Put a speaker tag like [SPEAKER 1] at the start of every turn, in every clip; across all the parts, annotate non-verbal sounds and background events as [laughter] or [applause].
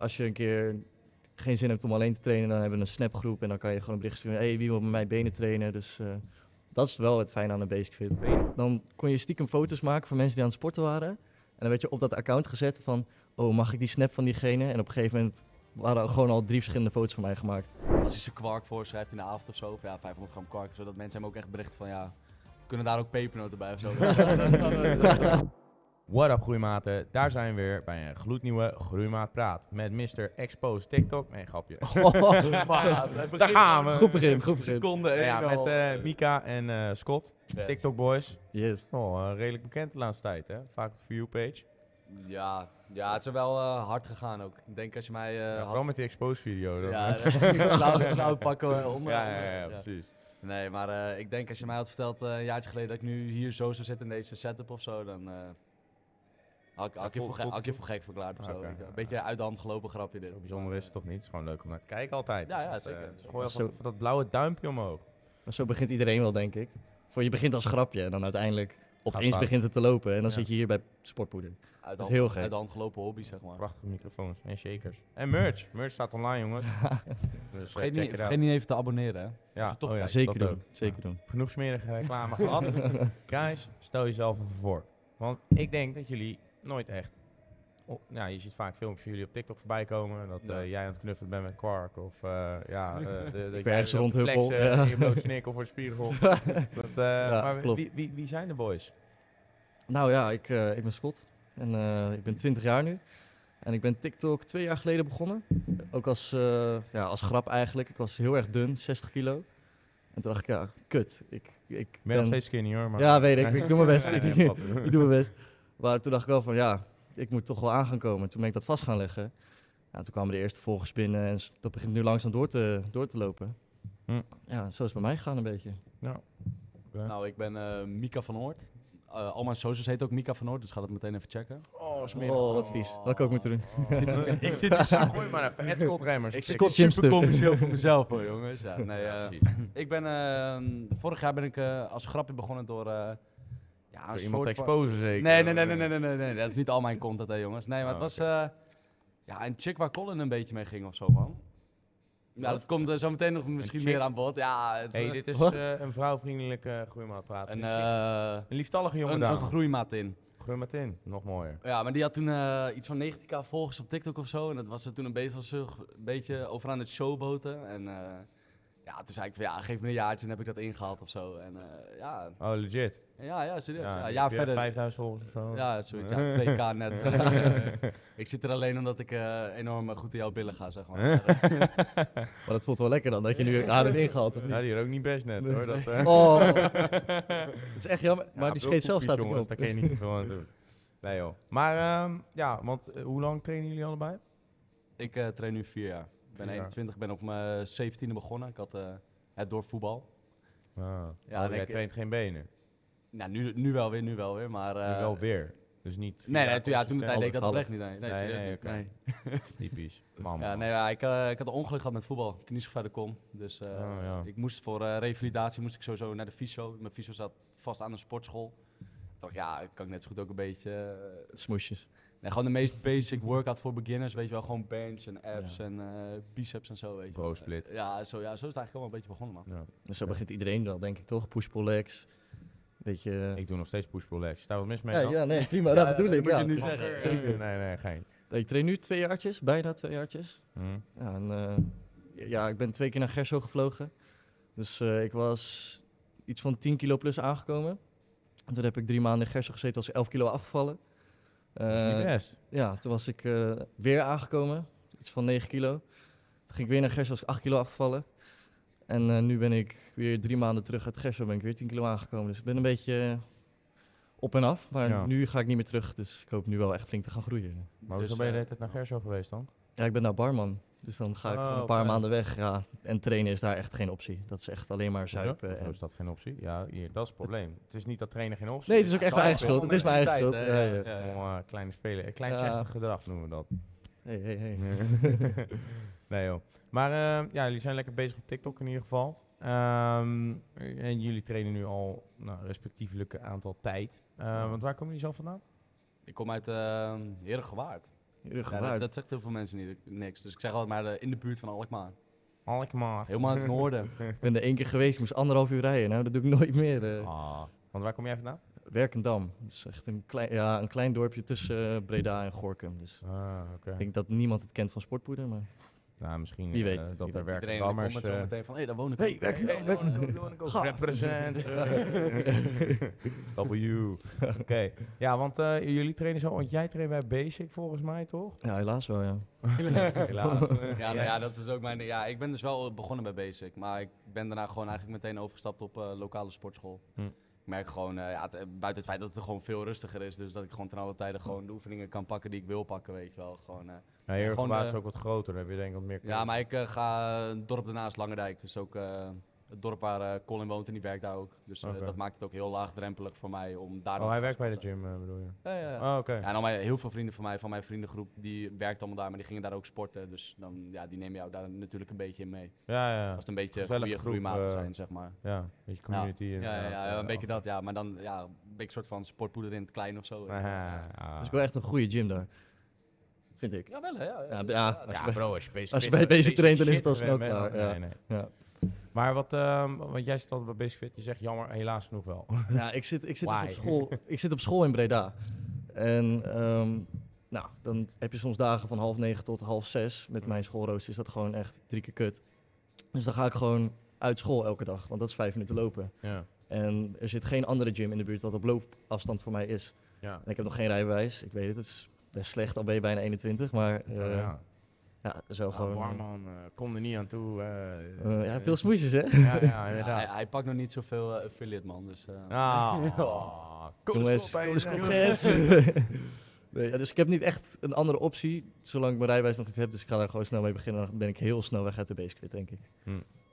[SPEAKER 1] Als je een keer geen zin hebt om alleen te trainen, dan hebben we een snapgroep en dan kan je gewoon een bericht sturen. hey, wie wil met mij benen trainen? Dus eh, dat is wel het fijne aan een basic fit. Dan kon je stiekem foto's maken van mensen die aan het sporten waren. En dan werd je op dat account gezet van, oh, mag ik die snap van diegene? En op een gegeven moment waren er gewoon al drie verschillende foto's van mij
[SPEAKER 2] [laughs]
[SPEAKER 1] gemaakt. [laughs]
[SPEAKER 3] Als hij zijn kwark voorschrijft in de avond of zo, of ja, 500 gram kwark, zodat mensen hem ook echt berichten van ja, kunnen daar ook pepernoten bij
[SPEAKER 2] [laughs]
[SPEAKER 3] of zo. [laughs]
[SPEAKER 2] What up groeimaten, daar zijn we weer bij een gloednieuwe Groeimaat Praat met Mr. Expose TikTok. Nee, grapje. daar gaan we.
[SPEAKER 1] Goed begin, goed begin.
[SPEAKER 3] Seconde,
[SPEAKER 2] Nou ja,
[SPEAKER 3] één
[SPEAKER 2] met
[SPEAKER 3] al.
[SPEAKER 2] eh, Mika en eh, Scott,
[SPEAKER 3] Yes.
[SPEAKER 2] TikTok boys.
[SPEAKER 1] Yes.
[SPEAKER 2] Oh, eh, redelijk bekend de laatste tijd hè, vaak op de view page.
[SPEAKER 3] Ja, ja, het is er wel eh, hard gegaan ook. Ik denk als je mij eh
[SPEAKER 2] Ja,
[SPEAKER 3] had...
[SPEAKER 2] vooral met die Expose video. dan. eh.
[SPEAKER 3] Ja, [laughs]
[SPEAKER 2] [laughs]
[SPEAKER 3] klauw, klauw pakken eh, om.
[SPEAKER 2] ja,
[SPEAKER 3] eh,
[SPEAKER 2] ja, ja,
[SPEAKER 3] ja.
[SPEAKER 2] precies.
[SPEAKER 3] Nee, maar eh, ik denk als je mij had verteld eh, een jaartje geleden dat ik nu hier zo zou zitten in deze setup of zo, dan eh, had, ik- had ik je
[SPEAKER 2] Vol-
[SPEAKER 3] voor ge-
[SPEAKER 2] vol-
[SPEAKER 3] had ik je voor gek verklaard of zo.
[SPEAKER 2] Oké.
[SPEAKER 3] weet je wel. Een beetje uit de hand gelopen grapje dit.
[SPEAKER 2] Zo bijzonder is het toch niet? Het is gewoon leuk om naar te kijken altijd.
[SPEAKER 3] Ja, ja,
[SPEAKER 2] Dus dat,
[SPEAKER 3] zeker,
[SPEAKER 2] eh,
[SPEAKER 3] zeker.
[SPEAKER 2] Gooi
[SPEAKER 1] Zo-
[SPEAKER 2] alvast even dat blauwe duimpje omhoog.
[SPEAKER 1] Maar zo begint iedereen wel, denk ik. Voor je begint als grapje en dan uiteindelijk opeens
[SPEAKER 2] fout.
[SPEAKER 1] begint het te lopen. En dan
[SPEAKER 2] Ja.
[SPEAKER 1] zit je hier bij sportpoeder.
[SPEAKER 3] Uit de
[SPEAKER 1] Dat
[SPEAKER 3] hand,
[SPEAKER 1] is heel gek.
[SPEAKER 3] uit de hand gelopen hobby, zeg maar.
[SPEAKER 2] Prachtige microfoons en shakers. En merch. Merch staat online jongens. dus
[SPEAKER 3] Vergeet
[SPEAKER 2] eh, check
[SPEAKER 3] niet,
[SPEAKER 2] it out.
[SPEAKER 3] vergeet niet even te abonneren, hè.
[SPEAKER 2] Ja,
[SPEAKER 3] je toch
[SPEAKER 2] oh ja,
[SPEAKER 1] zeker
[SPEAKER 2] dat
[SPEAKER 1] doen,
[SPEAKER 2] ook.
[SPEAKER 1] zeker doen.
[SPEAKER 2] genoeg smerige
[SPEAKER 1] [laughs]
[SPEAKER 2] reclame gehad. Guys, stel jezelf even voor. Want ik denk dat jullie nooit echt... op- ja, je ziet vaak filmpjes van jullie op TikTok voorbij komen. Dat eh,
[SPEAKER 3] Ja.
[SPEAKER 2] jij aan het knuffelen bent met Quark. Of eh, ja, eh, de,
[SPEAKER 1] [laughs]
[SPEAKER 2] dat jij
[SPEAKER 1] ergens
[SPEAKER 2] loopt te
[SPEAKER 1] rondhuppel,
[SPEAKER 2] flexen
[SPEAKER 1] ja.
[SPEAKER 2] en Je bloot snikkel voor de
[SPEAKER 1] [laughs]
[SPEAKER 2] spiegel. [laughs] dat, eh,
[SPEAKER 1] Ja,
[SPEAKER 2] maar
[SPEAKER 1] klopt.
[SPEAKER 2] wie, wie, wie zijn de boys?
[SPEAKER 1] Nou ja, ik, eh, ik ben Scott en eh, ik ben 20 jaar nu. En ik ben TikTok twee jaar geleden begonnen. Ook als, eh, ja, als grap eigenlijk. Ik was heel erg dun, 60 kilo. En toen dacht ik, ja, kut. Ik, ik
[SPEAKER 2] Ik ben nog steeds skinny hoor. Maar
[SPEAKER 1] Ja, weet ik. Ik doe mijn best.
[SPEAKER 2] [laughs] Ja,
[SPEAKER 1] Ik-
[SPEAKER 2] ja, pap.
[SPEAKER 1] ik doe mijn best. Maar toen dacht ik wel van ja, ik moet toch wel aan gaan komen. Toen ben ik dat vast gaan leggen. Ja, toen kwamen de eerste volgers binnen en s- dat begint nu langzaam door te, door te lopen.
[SPEAKER 2] Hm.
[SPEAKER 1] Ja, zo is het bij mij gegaan een beetje.
[SPEAKER 2] Ja.
[SPEAKER 3] Nou, ik ben eh, Mika van Oort. Eh, al mijn socials heet ook Mika van Oort, dus ga dat meteen even checken. Oh.
[SPEAKER 2] Oh, smerig.
[SPEAKER 1] Oh, wat vies. Dat had [laughs] ik ook moeten doen.
[SPEAKER 2] ik zit hier zo gooi maar even Ed Kopremmers.
[SPEAKER 3] Ik
[SPEAKER 1] Scott Jimster.
[SPEAKER 3] super commercieel voor mezelf hoor, jongens. Ja, nee, eh,
[SPEAKER 2] Ja, precies.
[SPEAKER 3] ik ben, eh, vorig jaar ben ik eh, als grapje begonnen door... eh, ja, een
[SPEAKER 2] Door
[SPEAKER 3] soort
[SPEAKER 2] iemand
[SPEAKER 3] van-
[SPEAKER 2] te exposen zeker.
[SPEAKER 3] Nee, nee, nee, nee, nee, nee, nee, nee, dat is niet al mijn content, hè, jongens. Nee, maar het
[SPEAKER 2] Oh,
[SPEAKER 3] was eh, ja, een chick waar Colin een beetje mee ging of zo, man. Nou, dat komt er zo meteen nog misschien
[SPEAKER 2] chick?
[SPEAKER 3] meer aan bod. Ja, het,
[SPEAKER 2] Hey,
[SPEAKER 3] eh,
[SPEAKER 2] dit is
[SPEAKER 1] Wat?
[SPEAKER 2] eh, een vrouwvriendelijke groeimaat praten.
[SPEAKER 3] een,
[SPEAKER 2] Dit is-
[SPEAKER 3] eh,
[SPEAKER 2] Een lieftallige jongen
[SPEAKER 3] een,
[SPEAKER 2] daar.
[SPEAKER 3] een groeimaat in.
[SPEAKER 2] Groeimaat in, nog mooier.
[SPEAKER 3] Ja, maar die had toen eh, iets van 90k volgers op TikTok of zo. En dat was er toen een beetje, van zo- een beetje over aan het showboten. En eh, ja, toen zei ik van ja, geef me een jaartje en heb ik dat ingehaald of zo. En eh, ja,
[SPEAKER 2] Oh, legit.
[SPEAKER 3] ja, ja, serieus. Ja,
[SPEAKER 2] heb
[SPEAKER 3] ja
[SPEAKER 2] je
[SPEAKER 3] verder.
[SPEAKER 2] 5000 volgers of zo. [laughs]
[SPEAKER 3] Ja, zoiets. Ja, 2k net. Eh, ik zit er alleen omdat ik eh, enorm eh, goed in jouw billen ga, zeg
[SPEAKER 2] [laughs]
[SPEAKER 3] maar.
[SPEAKER 1] Maar dat voelt wel lekker dan, dat je nu aan hebt ingehaald of
[SPEAKER 2] Ja,
[SPEAKER 1] niet?
[SPEAKER 2] die had ook niet best net hoor. Dat,
[SPEAKER 3] [laughs]
[SPEAKER 2] eh.
[SPEAKER 1] Oh, [laughs]
[SPEAKER 2] [laughs]
[SPEAKER 1] dat is echt jammer. Maar
[SPEAKER 2] Ja,
[SPEAKER 1] die scheet zelf
[SPEAKER 2] bulkoekjes,
[SPEAKER 1] staat er niet
[SPEAKER 2] jongens, daar
[SPEAKER 1] op.
[SPEAKER 2] kan je niet zoveel aan doen. Nee joh. Maar ehm, ja, want eh, hoe lang trainen jullie allebei?
[SPEAKER 3] ik eh, train nu vier jaar. Ik ben
[SPEAKER 2] Vier jaar.
[SPEAKER 3] 21, ben op mijn 17e begonnen. Ik had eh, het door voetbal.
[SPEAKER 2] Ah,
[SPEAKER 3] Ja,
[SPEAKER 2] ja,
[SPEAKER 3] denk eh,
[SPEAKER 2] jij
[SPEAKER 3] ik-
[SPEAKER 2] traint geen benen.
[SPEAKER 3] Nou, nu, nu wel weer, nu wel weer. Maar,
[SPEAKER 2] Nu
[SPEAKER 3] eh,
[SPEAKER 2] wel weer. Dus niet.
[SPEAKER 3] Nee,
[SPEAKER 2] vier
[SPEAKER 3] nee,
[SPEAKER 2] jaar
[SPEAKER 3] toen- ja, toen de tijd
[SPEAKER 2] consistent.
[SPEAKER 3] deed ik dat
[SPEAKER 1] Half,
[SPEAKER 3] oprecht niet. Nee, nee,
[SPEAKER 2] Nee,
[SPEAKER 3] serieus
[SPEAKER 2] nee,
[SPEAKER 3] niet.
[SPEAKER 2] oké.
[SPEAKER 3] nee.
[SPEAKER 2] Typisch. Man.
[SPEAKER 3] Ja,
[SPEAKER 2] man.
[SPEAKER 3] nee, ja, ik, eh, ik had een ongeluk gehad met voetbal. Knieschade kom. Dus eh,
[SPEAKER 2] Oh, ja.
[SPEAKER 3] ik moest voor eh, revalidatie moest ik sowieso naar de fysio. Mijn fysio zat vast aan een sportschool. Ik dacht, ja, ik kan net zo goed ook een beetje... eh,
[SPEAKER 1] Smoesjes.
[SPEAKER 3] nee, gewoon de meest basic workout voor beginners, weet je wel. Gewoon bench en abs en eh, biceps en zo, weet je wel.
[SPEAKER 2] Bro split.
[SPEAKER 3] Eh, ja, zo, ja, zo is het eigenlijk allemaal een beetje begonnen, man.
[SPEAKER 2] Ja.
[SPEAKER 1] Dus zo begint iedereen wel, denk ik toch? Push-pull legs. Beetje... eh,
[SPEAKER 2] Ik doe nog steeds push-pull legs. Staat wat mis mee?
[SPEAKER 1] Ja,
[SPEAKER 2] dan?
[SPEAKER 1] ja, nee, prima.
[SPEAKER 3] Ja,
[SPEAKER 1] dat
[SPEAKER 3] ja,
[SPEAKER 1] bedoel
[SPEAKER 3] dat
[SPEAKER 1] ik.
[SPEAKER 3] moet
[SPEAKER 1] ja.
[SPEAKER 3] je nu zeggen.
[SPEAKER 2] Zeker. Nee, nee, geen.
[SPEAKER 1] Ik train nu twee jaartjes, bijna twee jaartjes.
[SPEAKER 2] Hm.
[SPEAKER 1] Ja, en, eh, ja, ik ben twee keer naar Gerso gevlogen. Dus eh, ik was iets van 10 kilo plus aangekomen. En toen heb ik drie maanden in Gerso gezeten, was ik 11 kilo afgevallen.
[SPEAKER 2] Dat is niet
[SPEAKER 1] Eh,
[SPEAKER 2] best.
[SPEAKER 1] ja, toen was ik eh, weer aangekomen, iets van 9 kilo. Toen ging ik weer naar Gerso, was ik 8 kilo afgevallen. En eh, nu ben ik weer drie maanden terug uit Gerso, ben ik weer 10 kilo aangekomen. Dus ik ben een beetje eh, op en af, maar
[SPEAKER 2] Ja.
[SPEAKER 1] nu ga ik niet meer terug. Dus ik hoop nu wel echt flink te gaan groeien.
[SPEAKER 2] Maar
[SPEAKER 3] Dus,
[SPEAKER 2] hoezo ben je de
[SPEAKER 3] eh,
[SPEAKER 2] hele tijd naar Gerso geweest dan?
[SPEAKER 1] Ja, ik ben nou barman. Dus dan ga ik
[SPEAKER 2] Oh,
[SPEAKER 1] gewoon een paar
[SPEAKER 2] oké.
[SPEAKER 1] maanden weg. Ja. En trainen is daar echt geen optie. Dat is echt alleen maar zuipen.
[SPEAKER 2] Hoezo
[SPEAKER 1] en...
[SPEAKER 2] is dat geen optie? Ja, hier, dat is het probleem. Het is niet dat trainen geen optie
[SPEAKER 1] Nee, het is ook echt
[SPEAKER 3] Zo
[SPEAKER 1] mijn eigen
[SPEAKER 3] is het.
[SPEAKER 1] schuld. Het is mijn eigen schuld.
[SPEAKER 3] Tijd, hè,
[SPEAKER 1] Ja, ja.
[SPEAKER 3] ja, ja.
[SPEAKER 2] Om, eh, kleine spelen, eh, klein
[SPEAKER 1] Ja.
[SPEAKER 2] chestig gedrag noemen we dat.
[SPEAKER 1] [laughs] Hey, hey, hey.
[SPEAKER 2] [laughs] nee joh. Maar eh, ja, jullie zijn lekker bezig op TikTok in ieder geval. Ehm, en jullie trainen nu al nou, respectievelijk een aantal tijd. Eh, want waar komen jullie zelf vandaan?
[SPEAKER 3] Ik kom uit uh, ehm, Heerlijk Gewaard.
[SPEAKER 1] Jullie
[SPEAKER 3] Ja, dat,
[SPEAKER 1] gebruikt.
[SPEAKER 3] dat zegt heel veel mensen niet, niks. Dus ik zeg altijd maar eh, in de buurt van Alkmaar.
[SPEAKER 2] Alkmaar. [laughs]
[SPEAKER 3] Helemaal in het noorden.
[SPEAKER 1] Ik ben er één keer geweest, ik moest anderhalf uur rijden. Nou, dat doe ik nooit meer. eh.
[SPEAKER 2] Ah, want waar kom jij vandaan?
[SPEAKER 1] Werkendam. Dat is echt een klein, ja, een klein dorpje tussen eh, Breda en Gorkum. Dus
[SPEAKER 2] Ah, oké.
[SPEAKER 1] ik denk dat niemand het kent van sportpoeder, maar...
[SPEAKER 2] Nou, misschien
[SPEAKER 1] Wie
[SPEAKER 2] eh,
[SPEAKER 1] weet,
[SPEAKER 2] dat
[SPEAKER 1] wie weet.
[SPEAKER 2] er werken
[SPEAKER 3] Iedereen komt
[SPEAKER 2] dammers... eh,
[SPEAKER 3] met zo meteen van, hé, daar woon ik.
[SPEAKER 1] Hey,
[SPEAKER 3] ook.
[SPEAKER 1] werk- hey, werk- Gaaf.
[SPEAKER 2] Represent. W. Oké. Ja, want eh, jullie trainen zo, want jij traint bij Basic volgens mij, toch?
[SPEAKER 1] [laughs] Ja, helaas wel, ja.
[SPEAKER 2] Helaas. eh.
[SPEAKER 3] Ja, nou ja, dat is ook mijn... Ja, ik ben dus wel begonnen bij Basic, maar ik ben daarna gewoon eigenlijk meteen overgestapt op eh, lokale sportschool.
[SPEAKER 2] Hm.
[SPEAKER 3] Ik merk gewoon, eh, ja, het- eh, buiten het feit dat het er gewoon veel rustiger is, dus dat ik gewoon ten alle tijde gewoon de oefeningen kan pakken die ik wil pakken, weet je wel. Gewoon, eh.
[SPEAKER 2] Ja, hier
[SPEAKER 3] Gewoon,
[SPEAKER 2] was
[SPEAKER 3] eh,
[SPEAKER 2] ook wat groter, dan heb je denk ik wat meer
[SPEAKER 3] Ja, maar ik eh, ga het dorp daarnaast, Langendijk, dus ook eh, het dorp waar eh, Colin woont en die werkt daar ook. Dus eh,
[SPEAKER 2] Oké.
[SPEAKER 3] dat maakt het ook heel laagdrempelig voor mij om daar...
[SPEAKER 2] Oh,
[SPEAKER 3] dan
[SPEAKER 2] hij
[SPEAKER 3] te
[SPEAKER 2] werkt
[SPEAKER 3] gaan
[SPEAKER 2] bij de
[SPEAKER 3] sporten.
[SPEAKER 2] gym, eh, bedoel je?
[SPEAKER 3] Ja, ja, ja.
[SPEAKER 2] Oh, oké.
[SPEAKER 3] Ja, en al mijn, heel veel vrienden van mij, van mijn vriendengroep, die werkt allemaal daar, maar die gingen daar ook sporten. Dus dan, ja, die nemen jou daar natuurlijk een beetje in mee.
[SPEAKER 2] Ja, ja, ja.
[SPEAKER 3] Als het een beetje
[SPEAKER 2] Gezellige
[SPEAKER 3] goede
[SPEAKER 2] groep,
[SPEAKER 3] groeimaten
[SPEAKER 2] eh,
[SPEAKER 3] zijn, zeg maar.
[SPEAKER 2] Ja, een beetje community.
[SPEAKER 3] Ja, ja, ja,
[SPEAKER 2] inderdaad,
[SPEAKER 3] ja,
[SPEAKER 2] eh,
[SPEAKER 3] een beetje
[SPEAKER 2] af-
[SPEAKER 3] dat, ja. Maar dan ja, een beetje een soort van sportpoeder in het klein of zo.
[SPEAKER 2] Ah, ah.
[SPEAKER 1] Het is wel Dus echt een goede gym daar. Vind
[SPEAKER 2] [laughs]
[SPEAKER 1] ik.
[SPEAKER 3] Ja, wel hè. Ja,
[SPEAKER 1] Ja, b- ja.
[SPEAKER 3] ja.
[SPEAKER 2] Ja, bro, als je bezig
[SPEAKER 1] Als je bij Basic traint, dan is het al snel klaar, ja.
[SPEAKER 2] Nee, nee.
[SPEAKER 1] Ja,
[SPEAKER 2] Maar wat, ehm, want jij zit altijd bij Basic Fit, je zegt jammer, helaas genoeg wel.
[SPEAKER 1] ja ik, zit, ik, zit dus
[SPEAKER 2] Why?
[SPEAKER 1] op school, ik zit op school in Breda. En ehm, nou, dan heb je soms dagen van half negen tot half zes. Met mijn schoolrooster is dat gewoon echt drie keer kut. Dus dan ga ik gewoon uit school elke dag, want dat is vijf minuten lopen.
[SPEAKER 2] ja.
[SPEAKER 1] En er zit geen andere gym in de buurt dat op loopafstand voor mij is.
[SPEAKER 2] Ja.
[SPEAKER 1] En ik heb nog geen rijbewijs. Ik weet het, het is best slecht, al ben je bijna 21. Maar eh,
[SPEAKER 2] Oh, Ja,
[SPEAKER 1] ja.
[SPEAKER 2] ja.
[SPEAKER 1] zo gewoon... eh,
[SPEAKER 2] kom er niet aan toe.
[SPEAKER 1] [laughs] eh, ja, veel smoesjes, hè?
[SPEAKER 2] Ja, ja,
[SPEAKER 3] hij,
[SPEAKER 2] inderdaad.
[SPEAKER 3] hij pakt nog niet zoveel eh, affiliate, man. Dus, eh,
[SPEAKER 1] [laughs]
[SPEAKER 2] Ah,
[SPEAKER 1] Jongens, Codes Congres. [laughs] nee, ja, dus ik heb niet echt een andere optie, zolang ik mijn rijbewijs nog niet heb. Dus ik ga daar gewoon snel mee beginnen. Dan ben ik heel snel weg uit de basecrit, denk ik.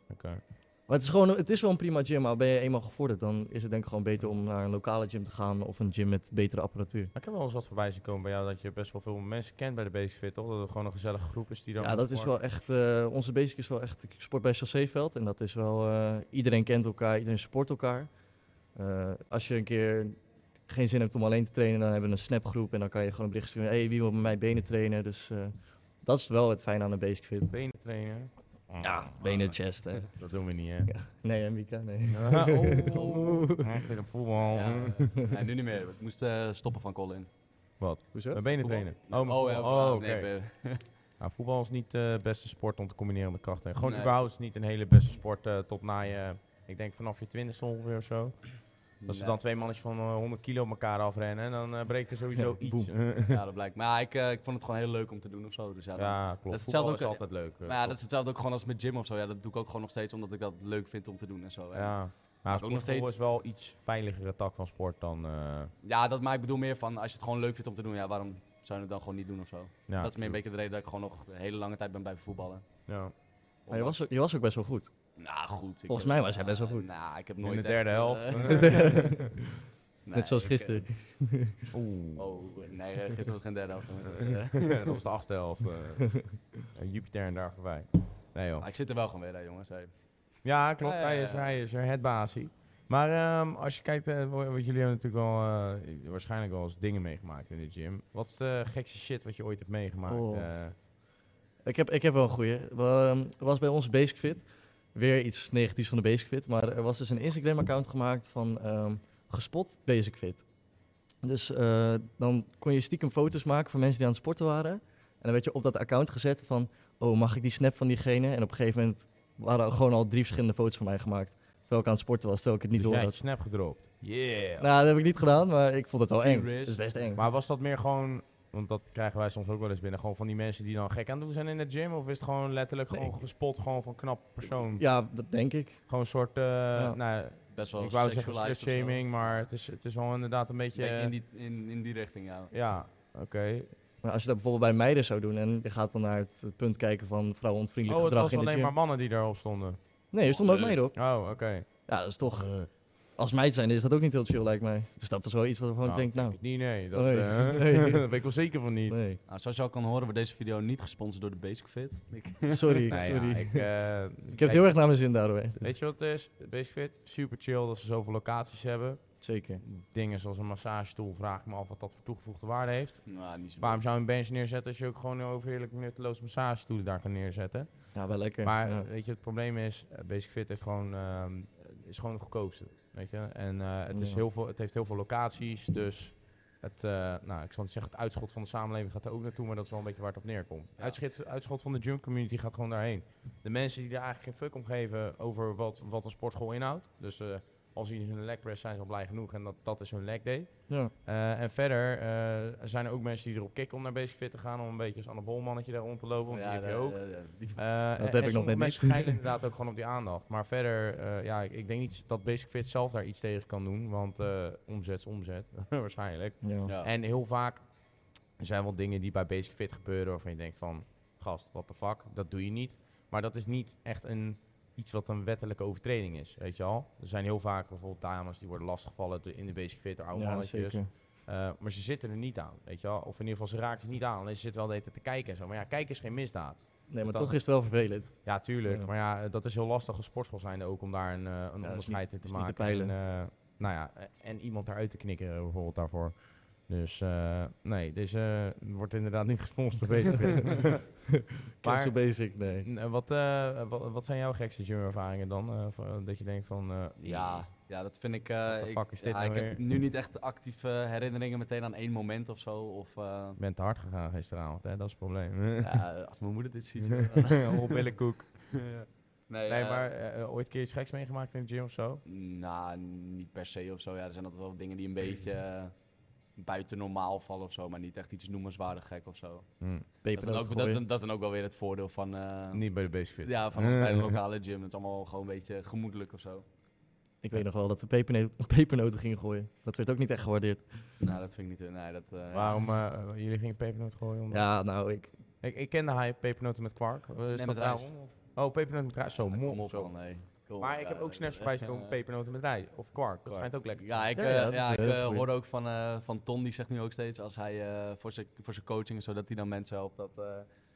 [SPEAKER 2] Oké.
[SPEAKER 1] Maar het is, gewoon, het is wel een prima gym, maar ben je eenmaal gevorderd, dan is het denk ik gewoon beter om naar een lokale gym te gaan of een gym met betere apparatuur.
[SPEAKER 2] Maar Ik heb wel eens wat voorbij zien komen bij jou dat je best wel veel mensen kent bij de Basic Fit, toch? Dat het gewoon een gezellige groep is die dan...
[SPEAKER 1] Ja, dat is wel echt, eh, onze basic is wel echt, ik sport bij Chasséveld en dat is wel, eh, iedereen kent elkaar, iedereen support elkaar. Eh, als je een keer geen zin hebt om alleen te trainen, dan hebben we een snapgroep en dan kan je gewoon een bericht sturen, hey, wie wil met mij benen trainen? Dus eh, dat is wel het fijne aan een basic fit.
[SPEAKER 2] Benen trainen. Oh,
[SPEAKER 1] Ja, benen chest, hè.
[SPEAKER 2] Dat doen we niet, hè? [laughs]
[SPEAKER 1] Nee, hè, Mika, nee. [laughs]
[SPEAKER 2] Ja, oh. Ik vind hem voetbal.
[SPEAKER 3] ja,
[SPEAKER 2] [laughs]
[SPEAKER 3] eh, nee, nu niet meer. Ik moest eh, stoppen van Colin.
[SPEAKER 1] Hoezo?
[SPEAKER 2] Mijn benen
[SPEAKER 3] Voetbal.
[SPEAKER 2] trainen. Oh, mijn
[SPEAKER 3] ja,
[SPEAKER 2] voetbal. oh,
[SPEAKER 3] nee,
[SPEAKER 2] oké.
[SPEAKER 3] eh,
[SPEAKER 2] Nou, voetbal is niet eh, de beste sport om te combineren met krachten. Gewoon
[SPEAKER 3] Nee.
[SPEAKER 2] überhaupt is niet een hele beste sport eh, tot na je, ik denk vanaf je twintigste ongeveer of zo. Als ze
[SPEAKER 3] nee.
[SPEAKER 2] dan twee mannetjes van eh, 100 kilo op elkaar afrennen, en dan eh, breekt er sowieso
[SPEAKER 1] Ja,
[SPEAKER 2] iets.
[SPEAKER 3] Ja, dat blijkt. Maar ja, ik, eh, ik vond het gewoon heel leuk om te doen of zo. Dus ja, dan-
[SPEAKER 2] [laughs] ja, klopt.
[SPEAKER 3] is
[SPEAKER 2] Voetbal
[SPEAKER 3] hetzelfde
[SPEAKER 2] is
[SPEAKER 3] ook-
[SPEAKER 2] altijd leuk. eh,
[SPEAKER 3] Maar ja, dat
[SPEAKER 2] klopt.
[SPEAKER 3] is hetzelfde ook gewoon als met gym of zo. Ja, dat doe ik ook gewoon nog steeds omdat ik dat leuk vind om te doen en zo. En
[SPEAKER 2] ja. Maar
[SPEAKER 3] ook nog
[SPEAKER 2] sportvoetbal
[SPEAKER 3] steeds-
[SPEAKER 2] is wel iets veiligere tak van sport dan... eh,
[SPEAKER 3] Ja, dat, maar ik bedoel meer van als je het gewoon leuk vindt om te doen, ja, waarom zou je het dan gewoon niet doen of zo?
[SPEAKER 2] ja,
[SPEAKER 3] dat is meer een
[SPEAKER 2] tuurlijk.
[SPEAKER 3] beetje de reden dat ik gewoon nog een hele lange tijd ben blijven voetballen.
[SPEAKER 2] Ja.
[SPEAKER 1] Maar je was, ook- je was ook best wel [laughs] goed.
[SPEAKER 3] Nou goed. ik
[SPEAKER 1] Volgens
[SPEAKER 3] heb-
[SPEAKER 1] mij was hij best wel
[SPEAKER 3] eh,
[SPEAKER 1] goed.
[SPEAKER 3] Nou, ik heb nooit.
[SPEAKER 2] In de
[SPEAKER 3] echt,
[SPEAKER 2] derde
[SPEAKER 3] eh,
[SPEAKER 2] helft.
[SPEAKER 3] [laughs] nee,
[SPEAKER 1] Net zoals
[SPEAKER 3] ik,
[SPEAKER 1] gisteren.
[SPEAKER 2] Oeh.
[SPEAKER 3] eh, oh, [laughs] nee, eh, gisteren was geen derde helft. jongens, dus,
[SPEAKER 2] [laughs]
[SPEAKER 3] eh,
[SPEAKER 2] dat was de achtste helft.
[SPEAKER 3] [laughs]
[SPEAKER 2] eh. Eh, Jupiter en daar voorbij. Nee joh.
[SPEAKER 3] maar ik zit er wel gewoon weer bij, jongens. hey.
[SPEAKER 2] Ja, klopt.
[SPEAKER 3] Ja, ja,
[SPEAKER 2] Hij, is,
[SPEAKER 3] ja.
[SPEAKER 2] hij is er het baasie. Maar ehm, als je kijkt, eh, wa- wat jullie hebben natuurlijk wel eh, waarschijnlijk wel eens dingen meegemaakt in de gym. Wat is de gekste shit wat je ooit hebt meegemaakt?
[SPEAKER 1] Oh.
[SPEAKER 2] eh?
[SPEAKER 1] Ik heb, ik heb wel een goeie. Wa- ehm, Er was bij ons Basic Fit. Weer iets negatiefs van de Basic Fit. Maar er was dus een Instagram-account gemaakt van ehm, gespot Basic Fit. Dus eh, dan kon je stiekem foto's maken van mensen die aan het sporten waren. En dan werd je op dat account gezet van... Oh, mag ik die snap van diegene? En op een gegeven moment waren er gewoon al drie verschillende foto's van mij gemaakt. Terwijl ik aan het sporten was, terwijl ik het niet
[SPEAKER 2] dus jij
[SPEAKER 1] door
[SPEAKER 2] hebt
[SPEAKER 1] had.
[SPEAKER 2] je snap gedropt. Yeah.
[SPEAKER 1] Nou, dat heb ik niet gedaan, maar ik vond het wel eng.
[SPEAKER 3] Furious.
[SPEAKER 1] Dat is best eng.
[SPEAKER 2] Maar was dat meer gewoon, want dat krijgen wij soms ook wel eens binnen, gewoon van die mensen die dan gek aan het doen zijn in de gym? Of is het gewoon letterlijk
[SPEAKER 1] Nee,
[SPEAKER 2] gewoon gespot, gewoon van knap persoon?
[SPEAKER 1] Ja, dat denk ik.
[SPEAKER 2] Gewoon een soort, eh, nou,
[SPEAKER 3] Best wel
[SPEAKER 2] ik wou zeggen
[SPEAKER 3] sexualized of zo.
[SPEAKER 2] slutshaming, maar het is, het is wel inderdaad een
[SPEAKER 3] Een
[SPEAKER 2] beetje...
[SPEAKER 3] beetje in die, in, in die richting, ja.
[SPEAKER 2] Ja, oké.
[SPEAKER 1] Maar als je dat bijvoorbeeld bij meiden zou doen en je gaat dan naar het het punt kijken van
[SPEAKER 2] Oh,
[SPEAKER 1] vrouwenontvriendelijk
[SPEAKER 2] het
[SPEAKER 1] gedrag in
[SPEAKER 2] was
[SPEAKER 1] de
[SPEAKER 2] alleen
[SPEAKER 1] gym.
[SPEAKER 2] maar mannen die daarop stonden.
[SPEAKER 1] Nee, er stonden ook meiden op.
[SPEAKER 2] Oh, oké.
[SPEAKER 1] Ja, dat is toch... Als meid zijn is dat ook niet heel chill, lijkt mij. Dus dat is wel iets waarvan ik
[SPEAKER 2] Nou,
[SPEAKER 1] denk, nou...
[SPEAKER 2] Ik niet, nee. [laughs] Dat,
[SPEAKER 1] Nee.
[SPEAKER 2] eh,
[SPEAKER 1] [laughs] Nee.
[SPEAKER 2] daar ben ik wel zeker van niet.
[SPEAKER 1] Nee,
[SPEAKER 3] Nou, zoals je al kan horen, wordt deze video niet gesponsord door de Basic Fit. Ik-
[SPEAKER 2] [laughs]
[SPEAKER 1] sorry,
[SPEAKER 2] Nee, ja,
[SPEAKER 1] sorry. [laughs] ik,
[SPEAKER 2] ik, eh,
[SPEAKER 1] heb
[SPEAKER 2] kijk,
[SPEAKER 1] het heel erg naar mijn zin daardoor.
[SPEAKER 2] Weet je wat het is? Basic Fit, super chill dat ze zoveel locaties hebben.
[SPEAKER 1] Zeker.
[SPEAKER 2] Dingen zoals een massagestoel, vraag ik me af wat dat voor toegevoegde waarde heeft.
[SPEAKER 3] [laughs] Nou, niet zo
[SPEAKER 2] Waarom zou je een bench neerzetten als je ook gewoon overheerlijk nutteloos massagestoelen daar kan neerzetten?
[SPEAKER 1] Ja, wel lekker.
[SPEAKER 2] Maar eh,
[SPEAKER 1] ja.
[SPEAKER 2] weet je, het probleem is, eh, Basic Fit is gewoon, ehm, is gewoon de goedkoopste. Weet je? En eh, het, is
[SPEAKER 1] Ja.
[SPEAKER 2] heel veel, het heeft heel veel locaties, dus het, eh, nou, ik zal niet zeggen, het uitschot van de samenleving gaat er ook naartoe, maar dat is wel een beetje waar het op neerkomt.
[SPEAKER 3] Ja.
[SPEAKER 2] Uitschot, uitschot van de gym community gaat gewoon daarheen. De mensen die er eigenlijk geen fuck om geven over wat, wat een sportschool inhoudt. Dus eh, als ze hun leg press zijn, zijn ze al blij genoeg en dat, dat is hun leg day.
[SPEAKER 1] Ja.
[SPEAKER 2] Eh, en verder eh, zijn er ook mensen die erop kicken om naar Basic Fit te gaan, om een beetje als Anne Bolmannetje daar rond te lopen, want
[SPEAKER 3] Ja,
[SPEAKER 2] die heb je
[SPEAKER 3] ja,
[SPEAKER 2] ook.
[SPEAKER 3] ja, ja, die-
[SPEAKER 2] Eh, en-
[SPEAKER 1] heb
[SPEAKER 2] en
[SPEAKER 1] ik nog
[SPEAKER 2] sommige
[SPEAKER 1] net
[SPEAKER 2] mensen
[SPEAKER 1] niet.
[SPEAKER 2] schijnen inderdaad ook gewoon op die aandacht. Maar verder, eh, ja, ik, ik denk niet dat Basic Fit zelf daar iets tegen kan doen. Want eh, omzet is omzet, [laughs] waarschijnlijk.
[SPEAKER 1] Ja.
[SPEAKER 3] ja.
[SPEAKER 2] En heel vaak zijn wel dingen die bij Basic Fit gebeuren waarvan je denkt van... Gast, what the fuck, dat doe je niet. Maar dat is niet echt een, iets wat een wettelijke overtreding is, weet je al. Er zijn heel vaak bijvoorbeeld dames die worden lastgevallen door- in de Basic Fit door oude
[SPEAKER 1] Ja,
[SPEAKER 2] mannetjes.
[SPEAKER 1] zeker.
[SPEAKER 2] Eh, maar ze zitten er niet aan, weet je wel. Of in ieder geval, ze raken ze niet aan. Alleen ze zitten wel de hele tijd te kijken en zo. Maar ja, kijken is geen misdaad.
[SPEAKER 1] Nee, maar
[SPEAKER 2] dat-
[SPEAKER 1] toch is het wel vervelend.
[SPEAKER 2] Ja, tuurlijk.
[SPEAKER 1] Ja.
[SPEAKER 2] Maar ja, eh, dat is heel lastig als sportschool zijnde ook om daar een, eh, een
[SPEAKER 1] is
[SPEAKER 2] onderscheid
[SPEAKER 1] niet-
[SPEAKER 2] in te
[SPEAKER 1] is niet te
[SPEAKER 2] maken. en, eh, nou ja, eh, en iemand daaruit te knikken eh, bijvoorbeeld daarvoor. Dus eh, nee, deze eh, wordt inderdaad niet gesponsord bezig.
[SPEAKER 1] [laughs] Maar,
[SPEAKER 2] maar
[SPEAKER 1] zo basic, nee.
[SPEAKER 2] eh, wat, eh, eh, wat, wat zijn jouw gekste gymervaringen dan? Eh, v- eh, dat je denkt van... eh,
[SPEAKER 3] Ja, ja, dat vind ik. eh,
[SPEAKER 2] What the
[SPEAKER 3] ik-
[SPEAKER 2] fuck is dit
[SPEAKER 3] ja,
[SPEAKER 2] nou
[SPEAKER 3] ik heb
[SPEAKER 2] weer?
[SPEAKER 3] nu niet echt actieve herinneringen meteen aan één moment of zo.
[SPEAKER 2] [laughs]
[SPEAKER 3] Of eh,
[SPEAKER 2] Ik ben te hard gegaan gisteravond, hè? dat is het probleem.
[SPEAKER 3] ja, als mijn moeder dit ziet. [laughs]
[SPEAKER 2] [laughs] Opbillenkoek.
[SPEAKER 3] nee,
[SPEAKER 2] Nee,
[SPEAKER 3] eh,
[SPEAKER 2] maar eh, eh, ooit een keer iets geks meegemaakt in de gym of zo?
[SPEAKER 3] Nou, niet per se of zo. Ja, er zijn altijd wel dingen die een beetje eh, buiten normaal vallen of zo. Maar niet echt iets noemenswaardig gek of zo.
[SPEAKER 2] Hm,
[SPEAKER 3] Dat is,
[SPEAKER 1] Peper
[SPEAKER 3] dan
[SPEAKER 1] ook,
[SPEAKER 3] ook, dat, is dan, dat is dan ook wel weer het voordeel van. eh,
[SPEAKER 2] Niet bij de basic fit. Eh,
[SPEAKER 3] ja,
[SPEAKER 2] [laughs]
[SPEAKER 3] van bij een lokale gym. Het is allemaal gewoon een beetje gemoedelijk of zo.
[SPEAKER 1] Ik weet nog wel dat we pepernoten, [laughs] pepernoten gingen gooien. Dat werd ook niet echt gewaardeerd.
[SPEAKER 3] Nou, dat vind ik niet. Nee, dat. eh,
[SPEAKER 2] Waarom eh, jullie gingen pepernoot gooien? omdat-
[SPEAKER 1] Ja, nou, ik,
[SPEAKER 2] Ik, ik ken de hype pepernoten met kwark. Eh, Is
[SPEAKER 3] Nee,
[SPEAKER 2] dat
[SPEAKER 3] met rijst.
[SPEAKER 2] daarom? Oh, pepernoten met rijst. Zo,
[SPEAKER 3] Ja, kom
[SPEAKER 2] mooi.
[SPEAKER 3] op,
[SPEAKER 2] zo.
[SPEAKER 3] man, nee. Kom
[SPEAKER 2] Maar
[SPEAKER 3] op,
[SPEAKER 2] ik
[SPEAKER 3] ja,
[SPEAKER 2] heb ook
[SPEAKER 3] dat- eh,
[SPEAKER 2] snaps voorbij zien komen pepernoten met rijst. Of kwark. Dat schijnt ook lekker. te
[SPEAKER 3] Ja,
[SPEAKER 2] zijn.
[SPEAKER 3] ik,
[SPEAKER 1] Ja,
[SPEAKER 3] eh,
[SPEAKER 1] ja,
[SPEAKER 3] ja,
[SPEAKER 1] dat is
[SPEAKER 3] ik
[SPEAKER 1] een hele
[SPEAKER 3] eh,
[SPEAKER 1] goeie.
[SPEAKER 3] hoorde ook van, eh, van Ton, die zegt nu ook steeds als hij eh, voor zijn voor zijn coaching en zo, dat hij dan mensen helpt dat eh,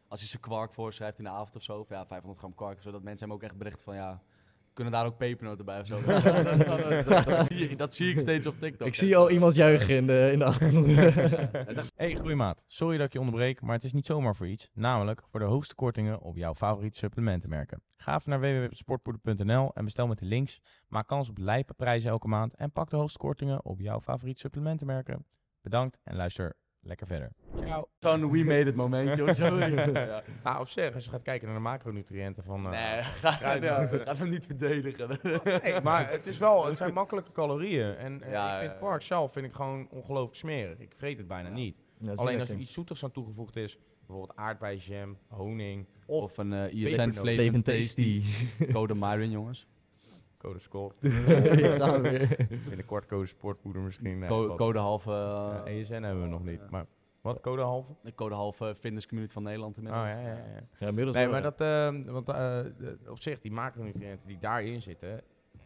[SPEAKER 3] als hij zijn kwark voorschrijft in de avond of zo, of ja, 500 gram kwark of zo, dat mensen hem ook echt berichten van ja, kunnen daar ook pepernoten bij of
[SPEAKER 1] [laughs]
[SPEAKER 3] zo. dat, dat- dat- dat zie, ik- dat zie ik steeds op TikTok.
[SPEAKER 1] ik
[SPEAKER 3] echt,
[SPEAKER 1] zie al
[SPEAKER 3] eh.
[SPEAKER 1] iemand juichen in de, in de [laughs] achtergrond.
[SPEAKER 3] Het is echt
[SPEAKER 2] Hey, groeimaat. Sorry dat ik je onderbreek, maar het is niet zomaar voor iets. Namelijk voor de hoogste kortingen op jouw favoriete supplementenmerken. Ga even naar www.sportpoeder.nl en bestel met de links. Maak kans op lijpe prijzen elke maand en pak de hoogste kortingen op jouw favoriete supplementenmerken. Bedankt en luister lekker verder. Ciao.
[SPEAKER 3] zo'n we made it momentje
[SPEAKER 1] [laughs]
[SPEAKER 3] of
[SPEAKER 2] [laughs]
[SPEAKER 3] zo. weet je. Ja.
[SPEAKER 2] Nou, op zich, als je gaat kijken naar de macronutriënten van... eh,
[SPEAKER 3] Nee, ga, ja, ga hem niet verdedigen.
[SPEAKER 2] Nee, maar het, is wel, het zijn makkelijke calorieën. En eh,
[SPEAKER 3] Ja,
[SPEAKER 2] ik vind
[SPEAKER 3] ja, ja.
[SPEAKER 2] kwark zelf vind ik gewoon ongelooflijk smerig. Ik vreet het bijna
[SPEAKER 3] Ja.
[SPEAKER 2] niet.
[SPEAKER 1] Ja, is
[SPEAKER 2] Alleen
[SPEAKER 1] lekker.
[SPEAKER 2] als er iets zoetigs aan toegevoegd is, bijvoorbeeld aardbeienjam, honing,
[SPEAKER 3] Of een eh ISN
[SPEAKER 2] Pepernoten.
[SPEAKER 3] Flavor Tasty.
[SPEAKER 1] tasty.
[SPEAKER 2] [laughs]
[SPEAKER 3] Code Myron, jongens.
[SPEAKER 2] code score.
[SPEAKER 1] [laughs]
[SPEAKER 2] [laughs]
[SPEAKER 1] Hier gaan we weer.
[SPEAKER 2] Binnenkort code sportpoeder misschien. Nee,
[SPEAKER 3] Co-
[SPEAKER 2] wat.
[SPEAKER 3] code halve...
[SPEAKER 2] Eh,
[SPEAKER 3] eh,
[SPEAKER 2] ESN hebben we nog
[SPEAKER 3] Ja.
[SPEAKER 2] niet. Maar wat, code halve?
[SPEAKER 3] De code halve fitness community van Nederland
[SPEAKER 2] Oh,
[SPEAKER 3] inmiddels.
[SPEAKER 2] ja, ja, ja.
[SPEAKER 1] Ja, inmiddels
[SPEAKER 2] Nee,
[SPEAKER 1] wel,
[SPEAKER 2] maar
[SPEAKER 1] ja.
[SPEAKER 2] dat, ehm, want eh, de- op zich, die macronutriënten die daarin zitten,